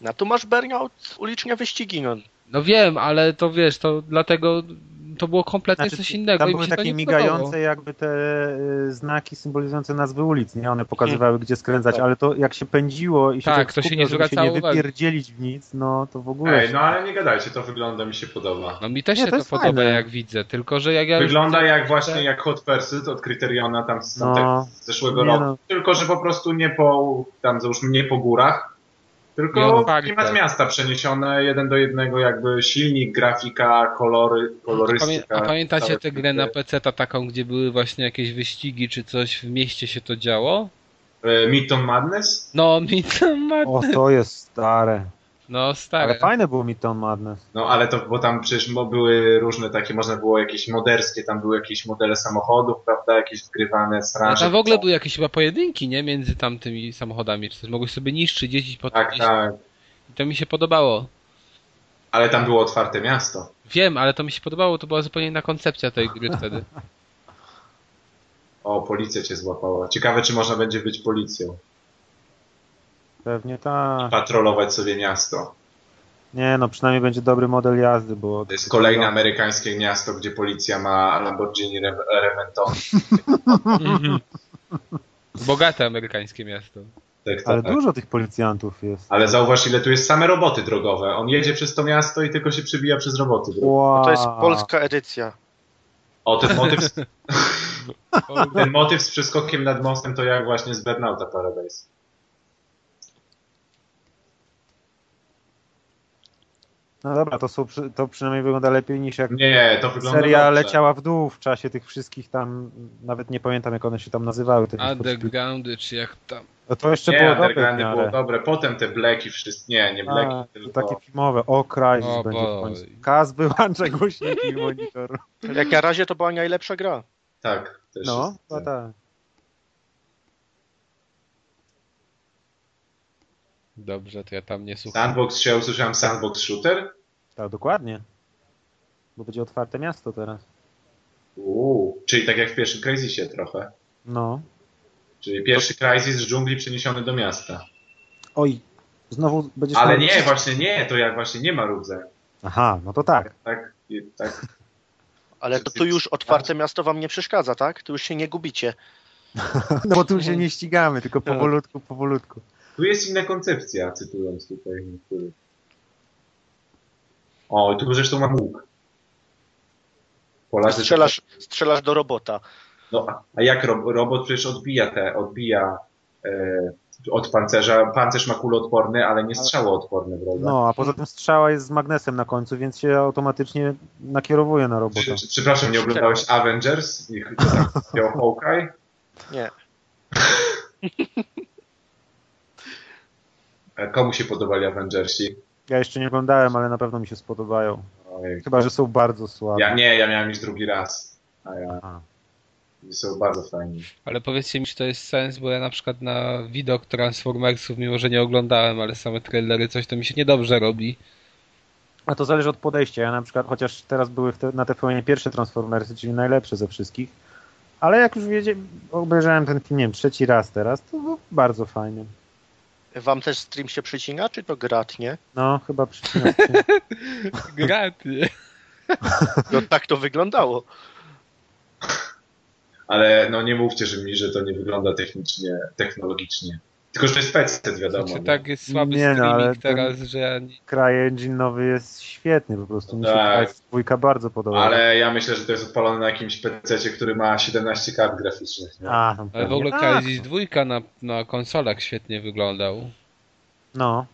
D: No tu masz burnout, uliczne wyścigi, no.
A: No wiem, ale to wiesz, to dlatego to było kompletnie
B: Znaczy,
A: coś innego.
B: Tam
A: i mi
B: były
A: się to
B: takie
A: nie
B: migające
A: podobało.
B: jakby te y, znaki symbolizujące nazwy ulic, nie? One pokazywały gdzie skręcać, ale to jak się pędziło i się
A: Tak,
B: tak
A: to się
B: skupno,
A: nie
B: żeby się
A: zwracało
B: nie
A: uwagi.
B: wypierdzielić w nic, no to w ogóle...
C: ej, no ale nie gadajcie, to wygląda, mi się podoba.
A: No mi też
B: Nie,
A: się
B: to
A: to,
B: jest
A: podoba,
B: fajne.
A: jak widzę, tylko że jak ja. już-
C: Wygląda jak właśnie jak Hot Pursuit od Kryteriona tam z,
B: No.
C: tamtego- z zeszłego
B: Nie
C: roku.
B: no.
C: Tylko, że po prostu nie po, tam załóżmy, nie po górach,
A: Nie no, tak.
C: tylko
A: otwarte.
C: klimat miasta przeniesione jeden do jednego, jakby silnik, grafika, kolory,
A: No, Pamię-
C: kolorystyka.
A: A pamiętacie
C: całe
A: tę grę na
C: filmy.
A: PC taką, gdzie były właśnie jakieś wyścigi czy coś, w mieście się to działo?
C: E, Midtown Madness?
A: No, mi tam ma...
B: O, to jest stare.
A: No, stare.
B: Ale fajne było Midtown Madness.
C: No ale to, bo tam przecież mo- były różne takie, można było jakieś moderskie, tam były jakieś modele samochodów, prawda, jakieś wgrywane
A: A
C: straże.
A: tam w ogóle były jakieś chyba pojedynki, nie? Między tamtymi samochodami. Czy coś mogłeś sobie niszczyć, jeździć po
C: Tak, tak.
A: I to mi się podobało.
C: Ale tam było otwarte miasto.
A: Wiem, ale to mi się podobało, to była zupełnie inna koncepcja tej gry wtedy.
C: O, policja cię złapała. Ciekawe, czy można będzie być policją.
B: Pewnie tak.
C: Patrolować sobie miasto.
B: Nie no, przynajmniej będzie dobry model jazdy, bo...
C: To jest kolejne amerykańskie miasto, gdzie policja ma Lamborghini Re- Reventon.
A: Bogate amerykańskie miasto.
C: Tak,
B: Ale
C: tak. Ale,
B: dużo tych policjantów jest.
C: Ale zauważ, ile tu jest same roboty drogowe. On jedzie przez to miasto i tylko się przebija przez roboty drogowe.
B: Wow.
D: No to jest polska edycja.
C: O, ten motyw, z-
A: O,
C: ten motyw z przeskokiem nad mostem to jak właśnie z Burnouta Paradise.
B: No dobra, to, są, przy- to przynajmniej wygląda lepiej niż jak
C: Nie, to wygląda
B: seria
C: dobrze.
B: leciała w dół w czasie tych wszystkich tam, nawet nie pamiętam jak one się tam nazywały. Te
A: Undergroundy, czy jak tam.
B: no to jeszcze
C: Nie,
B: było dobre w
C: Undergroundy było
B: miarę.
C: dobre. Potem te Blacki wszystkie. Nie, nie Blacki,
B: A, to
C: tylko...
B: takie filmowe. O, Crysis
A: O,
B: będzie w
A: boj.
B: końcu. Kaz, wyłączaj głośniki i monitor.
D: Jak na razie to była najlepsza gra.
C: Tak, też
B: No,
C: jest-
B: no tak.
A: Dobrze, to ja tam nie słucham.
C: Sandbox, czy ja usłyszałem Sandbox Shooter?
B: Tak, dokładnie. Bo będzie otwarte miasto teraz.
C: Uuu, czyli tak jak w pierwszym Crazysie trochę.
B: No.
C: Czyli pierwszy Crysis z dżungli przeniesiony do miasta.
B: Oj, znowu będziesz...
C: Ale
B: miał-
C: nie, właśnie nie, to jak właśnie nie ma Rudze.
B: Aha, no to tak.
C: Tak, i- tak.
D: Ale to tu już otwarte miasto wam nie przeszkadza, tak? Tu już się nie gubicie.
B: No bo tu się nie ścigamy, tylko
C: Tak.
B: powolutku, powolutku.
C: Tu jest inna koncepcja, cytując tutaj niektórych. O, i tu zresztą mam łuk. Polacy
D: Strzelasz, strzelasz do robota.
C: No, a- a jak ro- robot przecież odbija te, odbija e, od pancerza. Pancerz ma kuloodporny, ale nie strzałoodporny, prawda?
B: No, a poza tym strzała jest z magnesem na końcu, więc się automatycznie nakierowuje na robota.
C: Prze- prze- Przepraszam, nie oglądałeś tak, Avengers? Ich tam wziął Hawkeye?
D: Nie.
C: E, Komu się podobali Avengersi?
B: Ja jeszcze nie oglądałem, ale na pewno mi się spodobają.
C: Ojej.
B: Chyba, że są bardzo słabe.
C: Ja nie, ja miałem iść drugi raz. A ja,
B: Aha.
C: są bardzo fajni.
A: Ale powiedzcie mi, czy to jest sens, bo ja na przykład na widok Transformersów, mimo że nie oglądałem, ale same trailery, coś to mi się niedobrze robi.
B: A to zależy od podejścia. Ja na przykład, chociaż teraz były w te, na TVN pierwsze Transformersy, czyli najlepsze ze wszystkich, ale jak już wiecie, obejrzałem ten film, nie wiem, trzeci raz teraz, to był bardzo fajny.
D: Wam też stream się przycina, czy to gratnie?
B: No, chyba przyczyna.
A: Graty.
D: No tak to wyglądało.
C: Ale no nie mówcie że mi, że to nie wygląda technicznie, technologicznie. Tylko, że to jest E PC, wiadomo.
A: Znaczy,
C: nie?
A: tak jest słaby
B: Nie, no,
A: streaming
B: ale ten-
A: teraz, że ja nie...
B: CryEngine'owy jest świetny po prostu. Mi się
C: Tak.
B: tak. dwójka bardzo podoba.
C: Ale ja myślę, że to jest odpalone na jakimś PC, który ma 17 kart graficznych. Nie?
B: A,
A: Ale w
B: pewnie
A: ogóle
B: tak.
A: Crysis 2 na, na konsolach świetnie wyglądał.
B: No.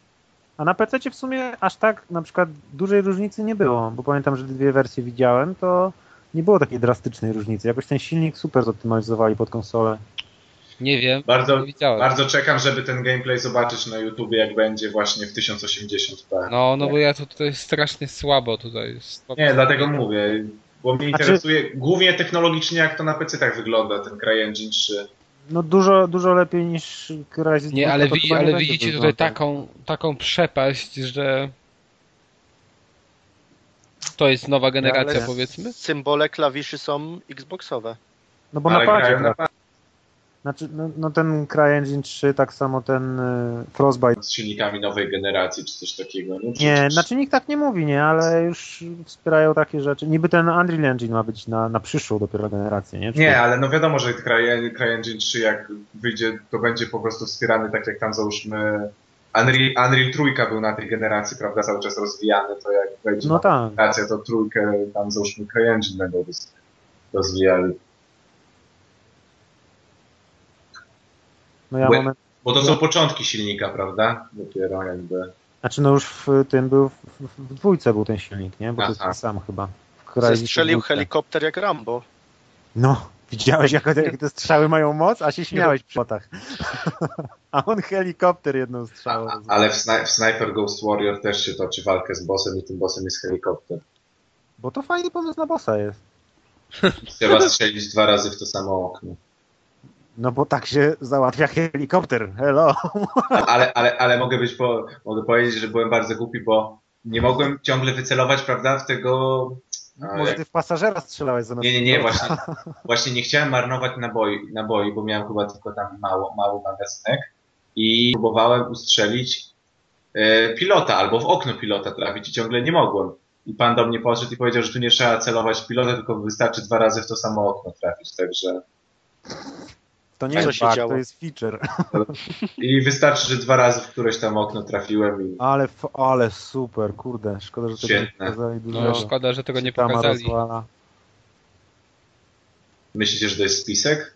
B: A na PC w sumie aż tak na przykład dużej różnicy nie było, bo pamiętam, że dwie wersje widziałem, to nie było takiej drastycznej różnicy. Jakoś ten silnik super zoptymalizowali pod konsolę.
A: Nie wiem,
C: Bardzo-
A: nie widziałem.
C: Bardzo czekam, żeby ten gameplay zobaczyć na YouTubie, jak będzie właśnie w tak. 1080p.
A: No, no bo ja tu, to jest strasznie słabo tutaj. jest Słabo.
C: Nie, dlatego mówię, bo mnie
B: Znaczy-
C: interesuje głównie technologicznie, jak to na PC tak wygląda, ten CryEngine 3.
B: No dużo, dużo lepiej niż Crysis
A: Nie,
B: dwójka,
A: ale,
B: to
A: widzi,
B: chyba nie
A: ale
B: będzie
A: widzicie
B: wyglądał.
A: tutaj taką, taką przepaść, że to jest nowa generacja,
D: Ale
A: powiedzmy.
D: Symbole klawiszy są xboxowe.
B: No bo
C: ale
B: na padzie,
C: grają na
B: tak. Znaczy, no, no ten CryEngine 3, tak samo ten y, Frostbite.
C: z silnikami nowej generacji, czy coś takiego. Nie,
B: Nie,
C: Przecież-
B: znaczy nikt tak nie mówi, nie, ale już wspierają takie rzeczy. Niby ten Unreal Engine ma być na, na przyszłą dopiero generację, nie? Czy-
C: Nie, ale no wiadomo, że Cry- CryEngine 3 jak wyjdzie, to będzie po prostu wspierany tak jak tam załóżmy Unreal, Unreal trójka był na tej generacji, prawda, cały czas rozwijany, to jak wejdzie
B: No
C: no
B: tak.
C: generacja, to trójkę tam załóżmy CryEngine będą roz- rozwijali.
B: No ja
C: Błę-
B: mam
C: Bo to są początki silnika, prawda? Dopiero jakby.
B: Znaczy no już w tym był, w, w- w dwójce był ten silnik, nie? Bo to jest
C: Aha.
B: ten sam chyba. W Crysis
D: Zestrzelił
B: dwójce.
D: helikopter jak Rambo.
B: No, widziałeś jak, jak te strzały mają moc? A się śmiałeś przy potach. A on helikopter jedną
C: A,
B: strzałą.
C: a, ale w, Sni- w Sniper Ghost Warrior też się toczy walkę z bossem i tym bossem jest helikopter.
B: Bo to fajny pomysł na bossa jest.
C: Trzeba strzelić dwa razy w to samo okno.
B: No bo tak się załatwia helikopter. Hello.
C: Ale, ale, ale mogę być po, mogę powiedzieć, że byłem bardzo głupi, bo nie mogłem ciągle wycelować, prawda, w tego. A,
B: Może
C: No, jak-
B: ty w pasażera strzelałeś zamiast...
C: Nie, nie, nie, właśnie, właśnie nie chciałem marnować naboi, naboi, bo miałem chyba tylko tam mało, mały magazynek i próbowałem ustrzelić e, pilota albo w okno pilota trafić i ciągle nie mogłem. I pan do mnie podszedł i powiedział, że tu nie trzeba celować w pilota, tylko wystarczy dwa razy w to samo okno trafić, także.
B: To nie
C: tak
D: Co
B: jest
D: się
B: bug,
D: działo?
B: to jest feature.
C: I wystarczy, że dwa razy w któreś tam okno trafiłem i
B: Ale, f- ale super, kurde. Szkoda, że tego nie
C: Świetne.
B: pokazali
A: No,
B: dużo.
A: szkoda, że tego nie pokazali.
C: myślicie, że to jest spisek?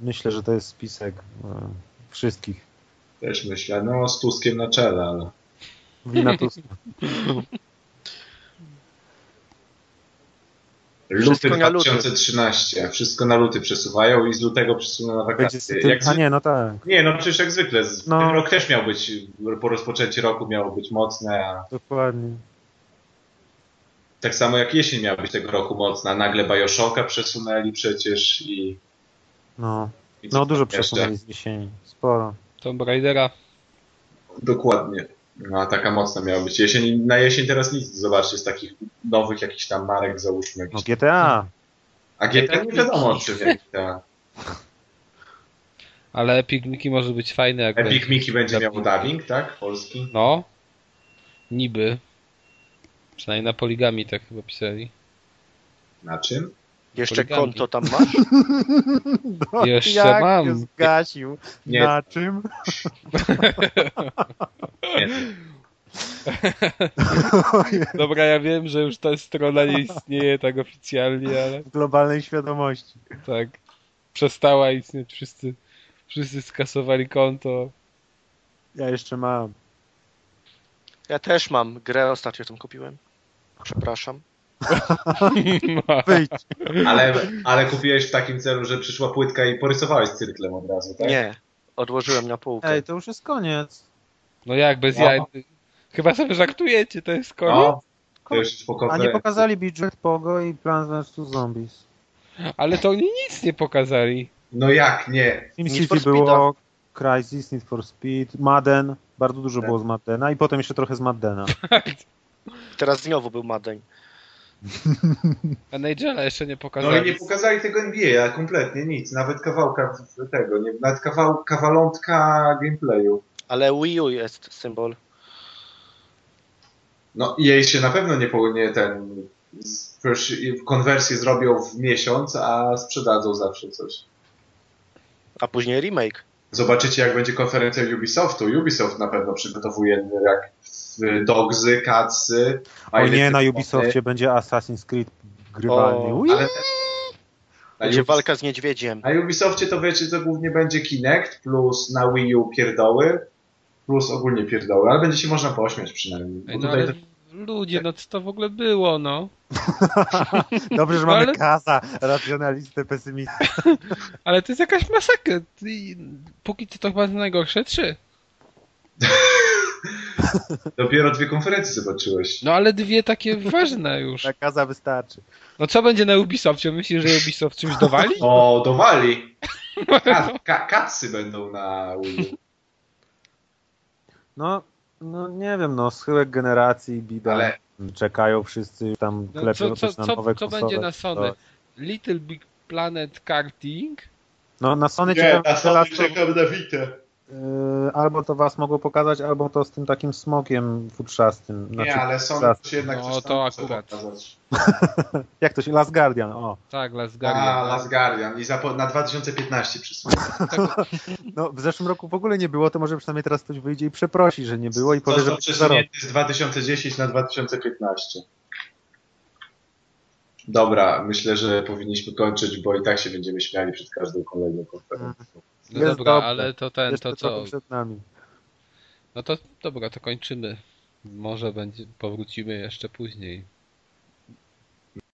B: Myślę, że to jest spisek e, wszystkich.
C: Też myślę, no z Tuskiem na czele, ale.
B: Wina tu
C: Luty
D: Wszystko na luty.
C: 2013. Wszystko na luty przesuwają i z lutego przesuną na
B: będzie z
C: wakacje.
B: tym...
C: Jak
B: A
C: zwy...
B: nie, no tak.
C: Nie, no przecież jak zwykle. z-
B: No.
C: Ten rok też miał być, po rozpoczęciu roku miało być mocne, a
B: Dokładnie.
C: tak samo jak jesień miała być tego roku mocna. a Nagle Bioshocka przesunęli przecież i...
B: No,
C: i co
B: no dużo
C: tam jeszcze?
B: przesunęli z jesieni. Sporo.
A: Tomb Raidera.
C: Dokładnie. No, a taka mocna miała być jesień. I Na jesień teraz nic, zobaczcie, z takich nowych jakichś tam marek załóżmy.
B: No
C: Jakiś...
B: GTA.
C: A GTA nie wiadomo, czy wie.
A: Ale Epic Mickey może być fajny jak
C: Epic
A: będzie.
C: Mickey będzie miał dubbing, tak? Polski.
A: No. Niby. Przynajmniej na poligami tak chyba pisali.
C: Na czym?
D: Jeszcze
A: Poligami.
D: konto tam masz?
B: No,
A: Jeszcze
B: jak
A: mam.
B: się zgasił.
C: Nie.
B: Na czym?
C: Nie.
A: Dobra, ja wiem, że już ta strona nie istnieje tak oficjalnie, ale
B: W globalnej świadomości.
A: tak. Przestała istnieć. Wszyscy, wszyscy skasowali konto.
B: Ja jeszcze mam.
D: Ja też mam. Grę ostatnio tam kupiłem. Przepraszam.
B: Wyjdź.
C: Ale, ale kupiłeś w takim celu, że przyszła płytka i porysowałeś cyrklem od razu, tak?
D: Nie. Odłożyłem na półkę.
B: Ej, to już jest koniec.
A: No jak, bez
C: No.
A: jaj. Chyba sobie żartujecie, to jest koniec.
C: No, to już jest po
B: A nie
C: konferencji.
B: pokazali budżet Pogo i Plants vs. Zombies.
A: Ale to oni nic nie pokazali.
C: No jak, nie.
B: Team
D: Need
B: City
D: for
B: było, Crysis, Need for Speed, Madden, bardzo dużo
C: Tak.
B: było z Maddena i potem jeszcze trochę z Maddena.
D: Teraz znowu był Madeń.
A: A Nigela jeszcze nie
C: No i
A: pokazali.
C: nie pokazali tego NBA kompletnie, nic. Nawet kawałka tego, nie, nawet kawał, kawalątka gameplayu.
D: Ale Wii U jest symbol.
C: No i jej się na pewno nie, po- nie ten... z- pers- Konwersję zrobią w miesiąc, a sprzedadzą zawsze coś.
D: A później remake.
C: Zobaczycie, jak będzie konferencja Ubisoftu. Ubisoft na pewno przygotowuje jak y, dogzy, kacy.
B: O nie, na Ubisoftie będzie Assassin's Creed grywalny.
D: O,
B: Ui!
C: Ale na,
D: Będzie
C: Ubis-
D: walka z niedźwiedziem.
C: na Ubisoftie to wiecie, to głównie będzie Kinect, plus na Wii U pierdoły, plus ogólnie pierdoły, ale będzie się można pośmiać przynajmniej. Bo
A: Ej, no
C: tutaj
A: ale
C: tak-
A: ludzie, no co to w ogóle było, no?
B: Dobrze, że
A: No,
B: mamy
A: ale-
B: Kaza, racjonalistę, pesymistę.
A: Ale to jest jakaś masakra. I Póki co to chyba najgorsze trzy.
C: Dopiero dwie konferencje zobaczyłeś.
A: No ale dwie takie ważne już.
C: Tak.
B: Na Kaza wystarczy.
A: No co będzie na Ubisoftie? Myślisz, że Ubisoft czymś dowali?
C: O, dowali! Ka- ka- kacy będą na Wii
B: No, no nie wiem, no schyłek generacji,
C: U,
B: bida.
C: ale
B: Czekają wszyscy, już tam
A: No,
B: klepią
A: co, co,
B: coś na nowe
A: co, co
B: konsole.
A: będzie na Sony?
B: To-
A: Little Big Planet Karting?
B: No na Sony
C: nie,
B: ciekawe,
C: na
B: że
C: Sony
B: las to,
C: czekam na Witę.
B: yy, albo to was mogą pokazać, albo to z tym takim smokiem futrzastym. Znaczy,
C: Nie, ale Sony
B: futrzastym.
C: się jednak
A: No,
C: coś tam
A: to
C: chce
A: akurat.
C: pokazać.
B: Jak to się? Last Guardian, o.
A: Tak, Las
C: A,
A: Guardian.
C: Last Guardian. I zapo- na 2015 przysłał.
B: No w zeszłym roku w ogóle nie było, to może przynajmniej teraz ktoś wyjdzie i przeprosi, że nie było i powie, że
A: znaczy,
C: Został
B: będzie za rok.
C: przesunięty z 2010 na 2015. Dobra, myślę, że powinniśmy kończyć, bo i tak się będziemy śmiali przed każdą kolejną konferencją.
A: No
B: Jest
A: dobra,
B: dobrze.
A: ale to ten,
B: Jeszcze
A: to
B: trochę
A: co?
B: przed nami.
A: No to dobra, to kończymy. Może będzie, powrócimy jeszcze później.